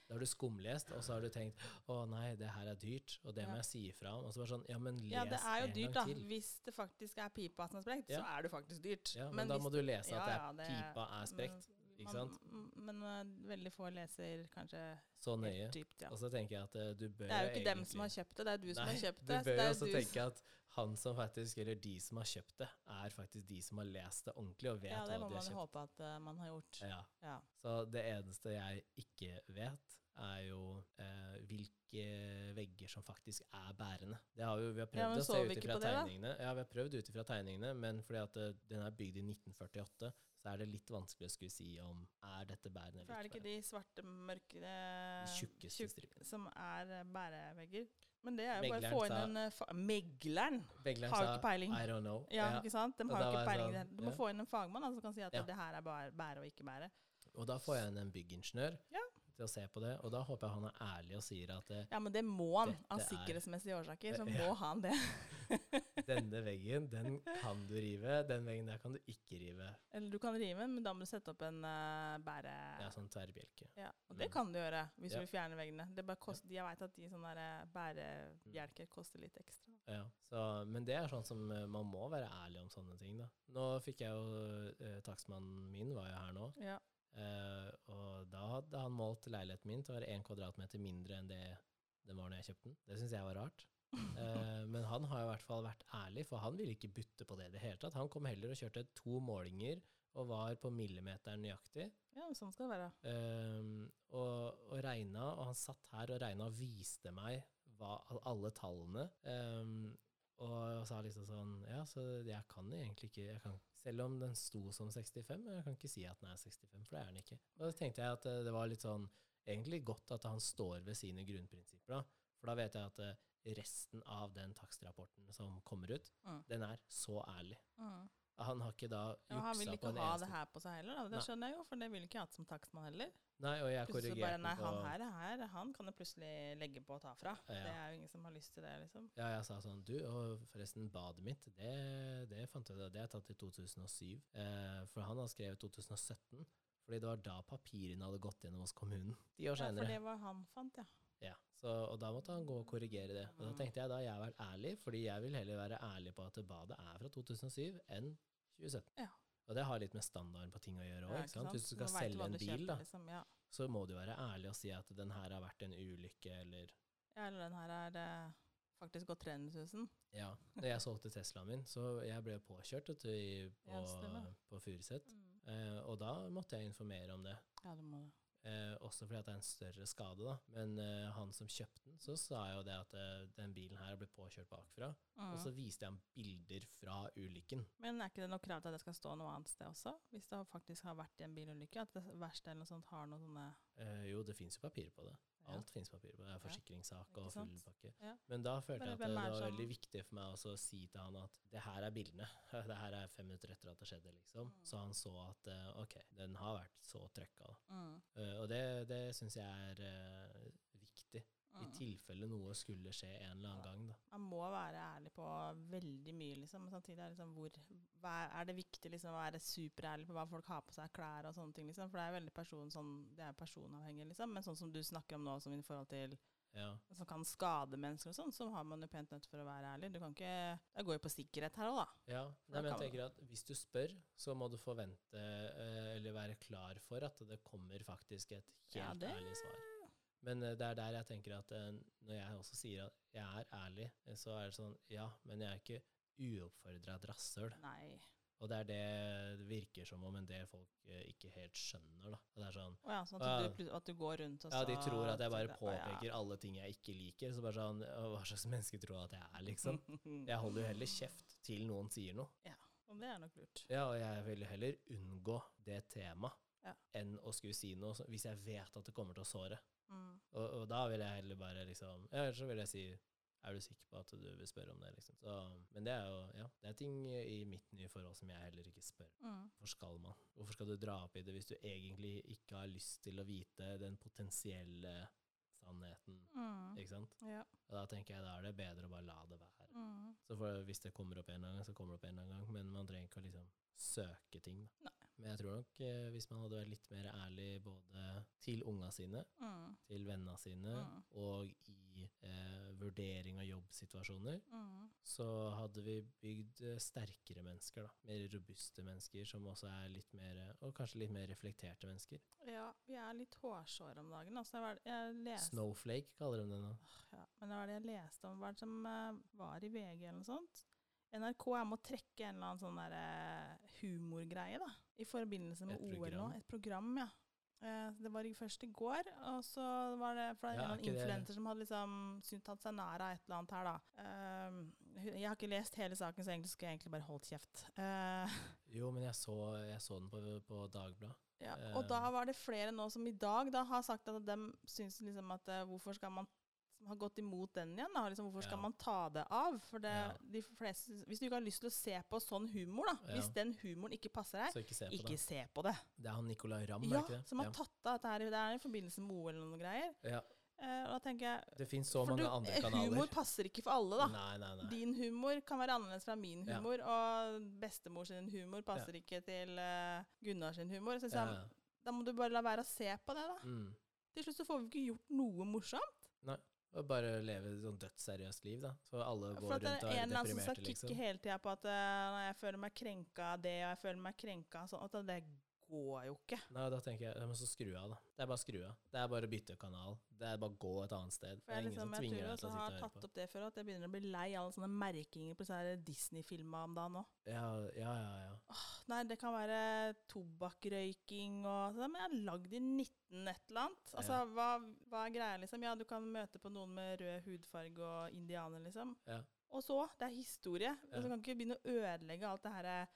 [SPEAKER 1] Da har du skumlest, og så har du tenkt å nei, det her er dyrt, og det
[SPEAKER 2] Ja.
[SPEAKER 1] må jeg si ifra om. Og så bare sånn, ja, men les
[SPEAKER 2] Ja, det er jo
[SPEAKER 1] en
[SPEAKER 2] dyrt, da.
[SPEAKER 1] gang til.
[SPEAKER 2] Hvis det faktisk er pipa som er sprekt,
[SPEAKER 1] Ja.
[SPEAKER 2] så er det faktisk dyrt.
[SPEAKER 1] Ja, men, da
[SPEAKER 2] hvis
[SPEAKER 1] må du lese at
[SPEAKER 2] ja,
[SPEAKER 1] det er,
[SPEAKER 2] ja, det-
[SPEAKER 1] pipa er sprekt, ikke sant?
[SPEAKER 2] Man, m- men eh, veldig få leser kanskje
[SPEAKER 1] Så nøye.
[SPEAKER 2] helt dypt, ja.
[SPEAKER 1] Og så tenker jeg at eh, du bør
[SPEAKER 2] Det er jo ikke dem som har kjøpt det, det er du som har kjøpt det.
[SPEAKER 1] Du
[SPEAKER 2] så
[SPEAKER 1] bør
[SPEAKER 2] det
[SPEAKER 1] jo
[SPEAKER 2] er
[SPEAKER 1] også
[SPEAKER 2] du
[SPEAKER 1] tenke at han som faktisk, eller de som har kjøpt det, er faktisk de som har lest det ordentlig og
[SPEAKER 2] som-
[SPEAKER 1] vet
[SPEAKER 2] ja, det
[SPEAKER 1] hva
[SPEAKER 2] må
[SPEAKER 1] de har
[SPEAKER 2] man jo
[SPEAKER 1] kjøpt.
[SPEAKER 2] håpe at eh, man har gjort.
[SPEAKER 1] Ja.
[SPEAKER 2] Ja.
[SPEAKER 1] Så det eneste jeg ikke vet, er jo eh, hvilke vegger som faktisk er bærende. Det har jo, vi har
[SPEAKER 2] Ja,
[SPEAKER 1] prøvd
[SPEAKER 2] men
[SPEAKER 1] å se
[SPEAKER 2] så vi
[SPEAKER 1] ut
[SPEAKER 2] ikke
[SPEAKER 1] ifra
[SPEAKER 2] på det, da?
[SPEAKER 1] tegningene. Ja, vi har prøvd ut ifra tegningene, men fordi at eh, den er bygd i 1948, så er det litt vanskelig å skulle si om er dette bærende
[SPEAKER 2] For er
[SPEAKER 1] eller
[SPEAKER 2] det
[SPEAKER 1] ikke.
[SPEAKER 2] ikke de svarte, mørke
[SPEAKER 1] bærende. De
[SPEAKER 2] eh,
[SPEAKER 1] tjukkeste
[SPEAKER 2] tjukk-
[SPEAKER 1] stripene.
[SPEAKER 2] som er eh, bærevegger? Men det er jo bare
[SPEAKER 1] Megleren
[SPEAKER 2] å få inn
[SPEAKER 1] sa-
[SPEAKER 2] en eh, fa Megleren!
[SPEAKER 1] Begge
[SPEAKER 2] Har jo
[SPEAKER 1] sa,
[SPEAKER 2] ikke peiling.
[SPEAKER 1] I don't know.
[SPEAKER 2] Ja, ikke sant? De
[SPEAKER 1] og
[SPEAKER 2] har
[SPEAKER 1] da
[SPEAKER 2] jo ikke
[SPEAKER 1] var jeg
[SPEAKER 2] peiling. i det
[SPEAKER 1] sånn,
[SPEAKER 2] hele- Du må
[SPEAKER 1] ja.
[SPEAKER 2] få inn en fagmann da, som kan si at
[SPEAKER 1] Ja.
[SPEAKER 2] det her er bare bære og ikke bære.
[SPEAKER 1] Og da får jeg inn en byggingeniør.
[SPEAKER 2] Ja.
[SPEAKER 1] til å se på det, og da håper jeg han er ærlig og sier at eh,
[SPEAKER 2] Ja, men det må han. Av
[SPEAKER 1] Dette er-
[SPEAKER 2] sikkerhetsmessige årsaker så
[SPEAKER 1] Ja.
[SPEAKER 2] må han det.
[SPEAKER 1] denne veggen, den kan du rive, den veggen der kan du ikke rive.
[SPEAKER 2] Eller du kan rive den, men da må du sette opp en eh, bære...
[SPEAKER 1] Det er sånn tverrbjelke.
[SPEAKER 2] Ja, og det
[SPEAKER 1] Mm.
[SPEAKER 2] kan du gjøre hvis
[SPEAKER 1] Ja.
[SPEAKER 2] du vil fjerne veggene. Det bare kost, Jeg veit at de sånne der, eh, bærebjelker koster litt ekstra.
[SPEAKER 1] Ja, så, men det er sånn som eh, man må være ærlig om sånne ting, da. Nå fikk jeg jo eh, Takstmannen min var jo her nå,
[SPEAKER 2] Ja.
[SPEAKER 1] eh, og da hadde han målt leiligheten min til å være én kvadratmeter mindre enn det den var når jeg kjøpte den. Det syns jeg var rart. Eh, men han har i hvert fall vært ærlig, for han ville ikke butte på det i det hele tatt. Han kom heller og kjørte to målinger og var på millimeteren nøyaktig.
[SPEAKER 2] ja, men sånn skal det være.
[SPEAKER 1] Ehm, og, og regna, og han satt her og regna og viste meg hva, al- alle tallene. ehm, og, sa liksom sånn Ja, så jeg kan egentlig ikke jeg kan, Selv om den sto som 65, jeg kan ikke si at den er 65, for det er den ikke. Og da tenkte jeg at eh, det var litt sånn Egentlig godt at han står ved sine grunnprinsipper, da. For da vet jeg at eh, resten av den takstrapporten som kommer ut,
[SPEAKER 2] Mm.
[SPEAKER 1] den er så ærlig.
[SPEAKER 2] Mm.
[SPEAKER 1] Han har ikke da
[SPEAKER 2] Ja, han vil
[SPEAKER 1] juksa på
[SPEAKER 2] ikke
[SPEAKER 1] en
[SPEAKER 2] ha det
[SPEAKER 1] eneste
[SPEAKER 2] her på seg heller, da.
[SPEAKER 1] Nei.
[SPEAKER 2] det skjønner jeg jo, for det ville ikke jeg hatt som takstmann heller.
[SPEAKER 1] Nei, og jeg
[SPEAKER 2] Plutselig bare
[SPEAKER 1] korrigerte
[SPEAKER 2] Nei,
[SPEAKER 1] den
[SPEAKER 2] han
[SPEAKER 1] på
[SPEAKER 2] her er her, han kan du plutselig legge på og ta fra.
[SPEAKER 1] Ja.
[SPEAKER 2] Det er jo ingen som har lyst til det, liksom.
[SPEAKER 1] Ja, jeg sa sånn Du, og forresten, badet mitt, det, det fant jeg ut av, det er tatt i 2007. Eh, for han har skrevet 2017, fordi det var da papirene hadde gått gjennom hos kommunen. Ti år
[SPEAKER 2] Ja, for
[SPEAKER 1] seinere.
[SPEAKER 2] det var han fant, ja.
[SPEAKER 1] Ja, så, og da måtte han gå og korrigere det. Og da
[SPEAKER 2] Mm.
[SPEAKER 1] tenkte jeg da jeg har vært ærlig, fordi jeg vil heller være ærlig på at badet er fra 2007 enn 2017.
[SPEAKER 2] Ja.
[SPEAKER 1] Og det har litt med standarden på ting å gjøre òg.
[SPEAKER 2] Ja,
[SPEAKER 1] sant? Hvis du
[SPEAKER 2] Så
[SPEAKER 1] skal
[SPEAKER 2] nå vet hva
[SPEAKER 1] selge en
[SPEAKER 2] du
[SPEAKER 1] bil,
[SPEAKER 2] kjøper,
[SPEAKER 1] da,
[SPEAKER 2] Liksom. Ja.
[SPEAKER 1] så må du være ærlig og si at den her har vært en ulykke, eller
[SPEAKER 2] ja, eller den her er eh, faktisk gått 300 000.
[SPEAKER 1] Ja. Da jeg solgte Teslaen min, så jeg ble påkjørt vet du, i- på,
[SPEAKER 2] Ja, stemmer. Mm.
[SPEAKER 1] på Furuset. Eh, og da måtte jeg informere om det.
[SPEAKER 2] Ja, du må det.
[SPEAKER 1] Eh, også fordi at det er en større skade, da. Men eh, han som kjøpte den, så sa jo det at eh, den bilen her ble påkjørt bakfra. Og så
[SPEAKER 2] Mm.
[SPEAKER 1] viste jeg ham bilder fra ulykken.
[SPEAKER 2] Men er ikke det noe krav til at det skal stå noe annet sted også? Hvis det har- faktisk har vært i en bilulykke? At det verste eller noe sånt har noe sånne
[SPEAKER 1] Eh, jo, det fins jo papir på det.
[SPEAKER 2] Ja.
[SPEAKER 1] Alt fins papir på det. Det er forsikringssak
[SPEAKER 2] ikke
[SPEAKER 1] og full
[SPEAKER 2] sant?
[SPEAKER 1] pakke.
[SPEAKER 2] Ja.
[SPEAKER 1] Men da følte
[SPEAKER 2] Men
[SPEAKER 1] jeg at
[SPEAKER 2] hvem
[SPEAKER 1] det,
[SPEAKER 2] er sånn?
[SPEAKER 1] var
[SPEAKER 2] som-
[SPEAKER 1] veldig viktig for meg også å si til han at det her er bildene. det her er fem minutter etter at det skjedde,
[SPEAKER 2] Mm.
[SPEAKER 1] liksom. Så han så at eh, ok, den har vært så trøkka. da.
[SPEAKER 2] mm.
[SPEAKER 1] Eh, og det, det syns jeg er eh, viktig. I
[SPEAKER 2] Mm.
[SPEAKER 1] tilfelle noe skulle skje en eller annen gang, da.
[SPEAKER 2] Man må være ærlig på veldig mye, liksom. Men samtidig er, det liksom hvor, hva er, er det viktig liksom, å være superærlig på hva folk har på seg av klær og sånne ting, liksom. For det er veldig person, sånn, det er personavhengig, liksom. Men sånn som du snakker om nå, som i forhold til
[SPEAKER 1] Ja.
[SPEAKER 2] som kan skade mennesker og sånn, så har man jo pent nødt for å være ærlig. Du kan ikke Det går jo på sikkerhet her òg, da.
[SPEAKER 1] ja. Nei,
[SPEAKER 2] Da
[SPEAKER 1] men jeg
[SPEAKER 2] kan-
[SPEAKER 1] tenker at hvis du spør, så må du forvente eh, eller være klar for at det kommer faktisk et helt
[SPEAKER 2] Ja, det-
[SPEAKER 1] ærlig svar. Men eh, det er der jeg tenker at eh, når jeg også sier at jeg er ærlig, eh, så er det sånn Ja, men jeg er ikke uoppfordra et rasshøl.
[SPEAKER 2] Nei.
[SPEAKER 1] Og det er det det virker som om en del folk eh, ikke helt skjønner, da. Og det er sånn
[SPEAKER 2] Å ja, sånn
[SPEAKER 1] Ja.
[SPEAKER 2] at, du, plut- at du går rundt og så
[SPEAKER 1] Ja, de tror at jeg bare
[SPEAKER 2] tenker, Altså, «Å
[SPEAKER 1] påpeker alle ting jeg ikke liker. Så bare sånn «Å, Hva slags menneske tror jeg at jeg er, liksom?
[SPEAKER 2] Mm.
[SPEAKER 1] Jeg holder jo heller kjeft til noen sier noe.
[SPEAKER 2] ja. Og det er nok lurt.
[SPEAKER 1] Ja, og jeg vil heller unngå det temaet
[SPEAKER 2] Ja.
[SPEAKER 1] enn å skulle si noe så- hvis jeg vet at det kommer til å såre.
[SPEAKER 2] Mm.
[SPEAKER 1] Og, og da vil jeg heller bare liksom Ja, ellers så vil jeg si er du sikker på at du vil spørre om det, liksom? Så, men det er jo ja, det er ting i mitt nye forhold som jeg heller ikke spør
[SPEAKER 2] Mm.
[SPEAKER 1] Hvorfor skal man? Hvorfor skal du dra opp i det hvis du egentlig ikke har lyst til å vite den potensielle sannheten?
[SPEAKER 2] Mm.
[SPEAKER 1] Ikke sant?
[SPEAKER 2] Ja.
[SPEAKER 1] Og da tenker jeg da er det bedre å bare la det være.
[SPEAKER 2] Mm.
[SPEAKER 1] Så for, hvis det kommer opp en eller annen gang, så kommer det opp en eller annen gang. Men man trenger ikke å liksom søke ting. Da. Men jeg tror nok eh, hvis man hadde vært litt mer ærlig både til unga sine,
[SPEAKER 2] Mm.
[SPEAKER 1] til vennene sine,
[SPEAKER 2] Mm.
[SPEAKER 1] og i eh, vurdering av jobbsituasjoner,
[SPEAKER 2] Mm.
[SPEAKER 1] så hadde vi bygd eh, sterkere mennesker, da. Mer robuste mennesker, som også er litt mer eh, Og kanskje litt mer reflekterte mennesker.
[SPEAKER 2] Ja, vi er litt hårsåre om dagen. Altså, jeg, jeg leste
[SPEAKER 1] Snowflake kaller de det nå.
[SPEAKER 2] ja, Men det var det jeg leste om, hva er det som eh, var i VG eller noe sånt? NRK er med å trekke en eller annen sånn der eh, humorgreie, da. I forbindelse med
[SPEAKER 1] Et
[SPEAKER 2] OL nå.
[SPEAKER 1] program?
[SPEAKER 2] Et program, ja. Eh, det var i- først i går, og så var det for
[SPEAKER 1] Ja, er
[SPEAKER 2] det er en eller annen
[SPEAKER 1] ikke det-
[SPEAKER 2] influenser som hadde liksom syntes tatt seg nær av et eller annet her, da. Eh, hu- jeg har ikke lest hele saken, så egentlig skulle jeg egentlig bare holdt kjeft. Eh,
[SPEAKER 1] Jo, men jeg så, jeg så den på, på Dagbladet.
[SPEAKER 2] Ja, og da var det flere nå som i dag da har sagt at de syns liksom at eh, hvorfor skal man har gått imot den igjen. Da. Liksom, hvorfor skal
[SPEAKER 1] Ja.
[SPEAKER 2] man ta det av? For det,
[SPEAKER 1] Ja.
[SPEAKER 2] de fleste, hvis du ikke har lyst til å se på sånn humor, da,
[SPEAKER 1] Ja.
[SPEAKER 2] hvis den humoren ikke passer deg,
[SPEAKER 1] Så ikke se på
[SPEAKER 2] ikke
[SPEAKER 1] det.
[SPEAKER 2] se på det.
[SPEAKER 1] Det er han Nicolay Ramm,
[SPEAKER 2] Ja,
[SPEAKER 1] er det ikke
[SPEAKER 2] som
[SPEAKER 1] det?
[SPEAKER 2] har tatt av dette her. Det er i forbindelse med OL eller noen greier.
[SPEAKER 1] Ja. ja.
[SPEAKER 2] Eh, og da tenker jeg
[SPEAKER 1] Det fins så
[SPEAKER 2] for
[SPEAKER 1] mange
[SPEAKER 2] du-
[SPEAKER 1] andre
[SPEAKER 2] eh,
[SPEAKER 1] kanaler.
[SPEAKER 2] Humor passer ikke for alle, da.
[SPEAKER 1] Nei, nei, nei.
[SPEAKER 2] Din humor kan være annerledes fra min
[SPEAKER 1] Ja.
[SPEAKER 2] humor, og bestemor sin humor passer ikke til eh, Gunnar sin humor. Så,
[SPEAKER 1] Ja,
[SPEAKER 2] liksom,
[SPEAKER 1] ja.
[SPEAKER 2] Da må du bare la være å se på det, da.
[SPEAKER 1] Mm.
[SPEAKER 2] Til slutt så får vi ikke gjort noe morsomt.
[SPEAKER 1] Og bare leve et sånn dødsseriøst liv, da. Så alle går
[SPEAKER 2] For at
[SPEAKER 1] rundt
[SPEAKER 2] det
[SPEAKER 1] og
[SPEAKER 2] er en
[SPEAKER 1] er
[SPEAKER 2] eller annen som skal
[SPEAKER 1] deprimerte,
[SPEAKER 2] kikke
[SPEAKER 1] liksom.
[SPEAKER 2] hele tida på at eh, nei, jeg føler meg krenka av det, og jeg føler meg krenka av sånn. At det går jo ikke.
[SPEAKER 1] Nei, da tenker jeg, ja, men så skru av, da. Det er bare å skru av. Det er bare å bytte kanal. Det er bare å gå et annet sted.
[SPEAKER 2] For
[SPEAKER 1] Det er
[SPEAKER 2] jeg,
[SPEAKER 1] ingen
[SPEAKER 2] liksom,
[SPEAKER 1] som
[SPEAKER 2] jeg
[SPEAKER 1] tvinger
[SPEAKER 2] tror
[SPEAKER 1] deg
[SPEAKER 2] også
[SPEAKER 1] til å
[SPEAKER 2] har
[SPEAKER 1] sitte og høre
[SPEAKER 2] tatt
[SPEAKER 1] på.
[SPEAKER 2] opp det før, at jeg begynner å bli lei alle sånne merkinger på disse her Disney-filmer om dagen nå.
[SPEAKER 1] Ja, ja, ja. ja.
[SPEAKER 2] Nei, det kan være tobakkrøyking og sånn, men jeg er lagd i 19 et eller annet. Altså,
[SPEAKER 1] Ja.
[SPEAKER 2] hva, hva er greia, liksom? Ja, du kan møte på noen med rød hudfarge og indianer, liksom.
[SPEAKER 1] Ja.
[SPEAKER 2] Og så, det er historie.
[SPEAKER 1] Ja.
[SPEAKER 2] Og så kan ikke begynne å ødelegge alt det her eh,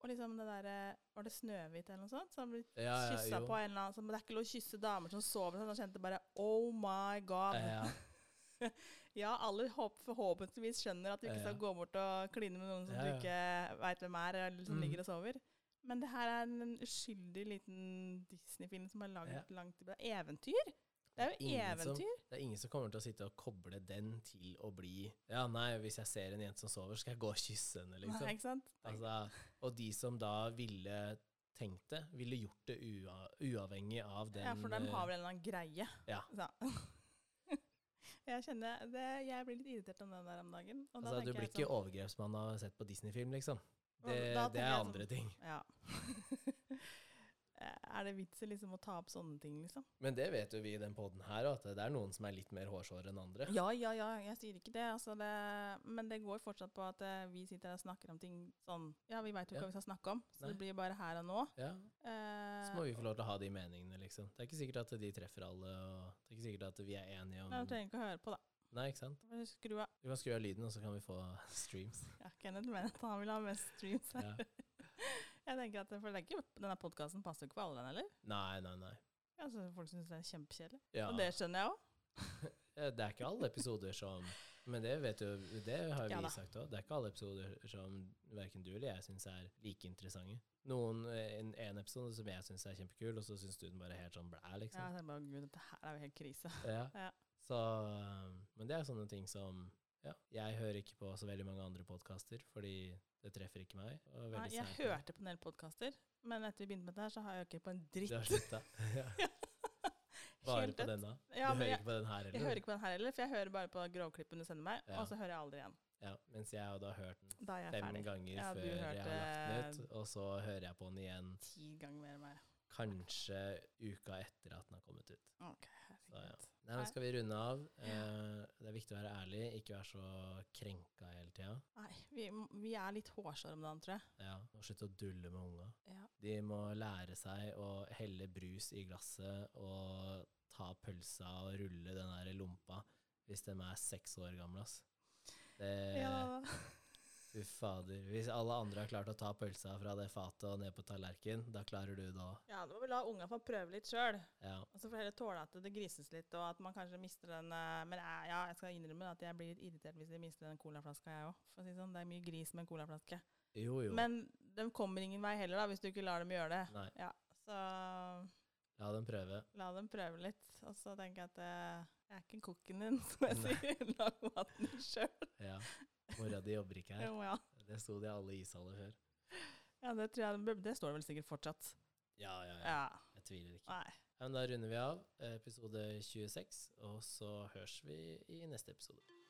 [SPEAKER 2] Og liksom det derre Var det Snøhvit eller noe sånt? Som ble
[SPEAKER 1] Ja, ja,
[SPEAKER 2] kyssa
[SPEAKER 1] jo.
[SPEAKER 2] på en eller annen sånn, Men det er ikke lov å kysse damer som sover sånn. Da kjente jeg bare Oh my god.
[SPEAKER 1] Ja,
[SPEAKER 2] Ja, alle håp, forhåpentligvis skjønner at du ikke
[SPEAKER 1] Ja, ja.
[SPEAKER 2] skal gå bort og kline med noen som
[SPEAKER 1] Ja,
[SPEAKER 2] du
[SPEAKER 1] ja.
[SPEAKER 2] ikke veit hvem er, eller som
[SPEAKER 1] Mm.
[SPEAKER 2] ligger og sover. Men det her er en uskyldig liten Disney-film som er laget
[SPEAKER 1] Ja.
[SPEAKER 2] langt tilbake. Eventyr? Det er jo
[SPEAKER 1] Ingen som-
[SPEAKER 2] eventyr.
[SPEAKER 1] Det er ingen som kommer til å sitte og koble den til å bli Ja, nei, hvis jeg ser en jente som sover, skal jeg gå og kysse henne, liksom.
[SPEAKER 2] Nei, ikke sant?
[SPEAKER 1] Altså, og de som da ville tenkt det, ville gjort det ua uavhengig av den
[SPEAKER 2] ja, for de
[SPEAKER 1] eh,
[SPEAKER 2] har vel en eller annen greie.
[SPEAKER 1] ja.
[SPEAKER 2] Så. jeg kjenner det, Jeg blir litt irritert om den der om dagen. Og da
[SPEAKER 1] altså, Du
[SPEAKER 2] tenker
[SPEAKER 1] blir
[SPEAKER 2] jeg
[SPEAKER 1] ikke
[SPEAKER 2] sånn,
[SPEAKER 1] overgrepsmann av å ha sett på Disney-film, liksom.
[SPEAKER 2] Og
[SPEAKER 1] Det,
[SPEAKER 2] da
[SPEAKER 1] det
[SPEAKER 2] tenker
[SPEAKER 1] er
[SPEAKER 2] jeg sånn.
[SPEAKER 1] andre ting.
[SPEAKER 2] Ja. er det vits i liksom å ta opp sånne ting, liksom?
[SPEAKER 1] Men det vet jo vi i den poden her, at det er noen som er litt mer hårsåre enn andre.
[SPEAKER 2] Ja, ja, ja, jeg sier ikke det, altså det. Men det går fortsatt på at eh, vi sitter her og snakker om ting sånn Ja, vi veit jo ikke
[SPEAKER 1] Ja.
[SPEAKER 2] hva vi skal snakke om, så
[SPEAKER 1] Nei.
[SPEAKER 2] det blir bare her og nå.
[SPEAKER 1] Ja,
[SPEAKER 2] Eh,
[SPEAKER 1] Så må vi få lov til å ha de meningene, liksom. Det er ikke sikkert at de treffer alle, og det er ikke sikkert at vi er enige om
[SPEAKER 2] Nei, du trenger ikke å høre på, da.
[SPEAKER 1] Nei, ikke sant?
[SPEAKER 2] Bare Skru av.
[SPEAKER 1] Vi kan skru av lyden, og så kan vi få streams.
[SPEAKER 2] Ja, Kenneth mener at han vil ha mest streams.
[SPEAKER 1] Ja.
[SPEAKER 2] Jeg tenker at for det er ikke, Denne podkasten passer jo ikke for alle, den heller.
[SPEAKER 1] Nei, nei, nei.
[SPEAKER 2] Altså, folk syns det er kjempekjedelig.
[SPEAKER 1] Ja.
[SPEAKER 2] Og det skjønner jeg òg.
[SPEAKER 1] Eh, Det er ikke alle episoder som Men det vet jo, det har jo
[SPEAKER 2] Ja da.
[SPEAKER 1] vi sagt òg. Det er ikke alle episoder som verken du eller jeg syns er like interessante. Noen, eh, en, en episode som jeg syns er kjempekul, og så syns du den bare er helt sånn blæ,
[SPEAKER 2] Ja,
[SPEAKER 1] liksom.
[SPEAKER 2] jeg tenker bare, Gud, dette her er jo helt krise.
[SPEAKER 1] Ja.
[SPEAKER 2] Ja.
[SPEAKER 1] Så, um, men det er sånne ting som ja, Jeg hører ikke på så veldig mange andre podkaster, fordi det treffer ikke meg. og
[SPEAKER 2] Nei,
[SPEAKER 1] veldig
[SPEAKER 2] jeg
[SPEAKER 1] sært.
[SPEAKER 2] hørte på en del podkaster, men etter vi begynte med dette her, så har jeg jo ikke på en dritt.
[SPEAKER 1] Du har slutta? Ja. Bare
[SPEAKER 2] Helt
[SPEAKER 1] på
[SPEAKER 2] dødt.
[SPEAKER 1] denne?
[SPEAKER 2] Ja,
[SPEAKER 1] du
[SPEAKER 2] men
[SPEAKER 1] hører
[SPEAKER 2] jeg,
[SPEAKER 1] ikke på den her
[SPEAKER 2] jeg
[SPEAKER 1] heller?
[SPEAKER 2] hører ikke på den her heller, for jeg hører bare på grovklippen du sender meg,
[SPEAKER 1] Ja.
[SPEAKER 2] og så hører jeg aldri igjen.
[SPEAKER 1] Ja, mens jeg har da hørt den
[SPEAKER 2] Da er jeg
[SPEAKER 1] fem
[SPEAKER 2] ferdig.
[SPEAKER 1] ganger
[SPEAKER 2] Ja, du
[SPEAKER 1] før jeg har lagt den
[SPEAKER 2] hørte- eh,
[SPEAKER 1] ut, og så hører jeg på den igjen
[SPEAKER 2] Ti ganger mer enn meg.
[SPEAKER 1] kanskje uka etter at den har kommet ut.
[SPEAKER 2] Ok,
[SPEAKER 1] Så, ja.
[SPEAKER 2] herregud.
[SPEAKER 1] Nei, men
[SPEAKER 2] Nei.
[SPEAKER 1] skal vi runde av? Eh, det er viktig å være ærlig, ikke være så krenka hele tida.
[SPEAKER 2] Nei, vi, vi er litt hårsåre om dagen, tror jeg.
[SPEAKER 1] Ja, og slutte å dulle med unga.
[SPEAKER 2] Ja.
[SPEAKER 1] De må lære seg å helle brus i glasset og ta pølsa og rulle den der lompa hvis de er seks år gamle, ass. Det,
[SPEAKER 2] Ja, da.
[SPEAKER 1] Fy fader. Hvis alle andre har klart å ta pølsa fra det fatet og ned på tallerken, da klarer du det òg.
[SPEAKER 2] ja, da må vi la unga få prøve litt sjøl.
[SPEAKER 1] Ja.
[SPEAKER 2] Og så får heller tåle at det grises litt, og at man kanskje mister den eh, Men jeg- ja, jeg skal innrømme at jeg blir litt irritert hvis de mister den colaflaska, jeg òg. For å si det sånn, det er mye gris med en colaflaske.
[SPEAKER 1] Jo, jo.
[SPEAKER 2] Men de kommer ingen vei heller, da, hvis du ikke lar dem gjøre det.
[SPEAKER 1] Nei,
[SPEAKER 2] Ja, så
[SPEAKER 1] la dem prøve.
[SPEAKER 2] La dem prøve litt. Og så tenker jeg at eh, jeg er ikke kokken din, som jeg sier. Lag maten sjøl.
[SPEAKER 1] Ja. Mora di jobber ikke her.
[SPEAKER 2] Ja.
[SPEAKER 1] Det sto det i alle ishaller før.
[SPEAKER 2] ja, det tror jeg. den bør- Det står vel sikkert fortsatt.
[SPEAKER 1] Ja, ja, ja.
[SPEAKER 2] Ja.
[SPEAKER 1] Jeg tviler ikke.
[SPEAKER 2] Nei.
[SPEAKER 1] Ja, men da runder vi av eh, episode 26, og så høres vi i neste episode.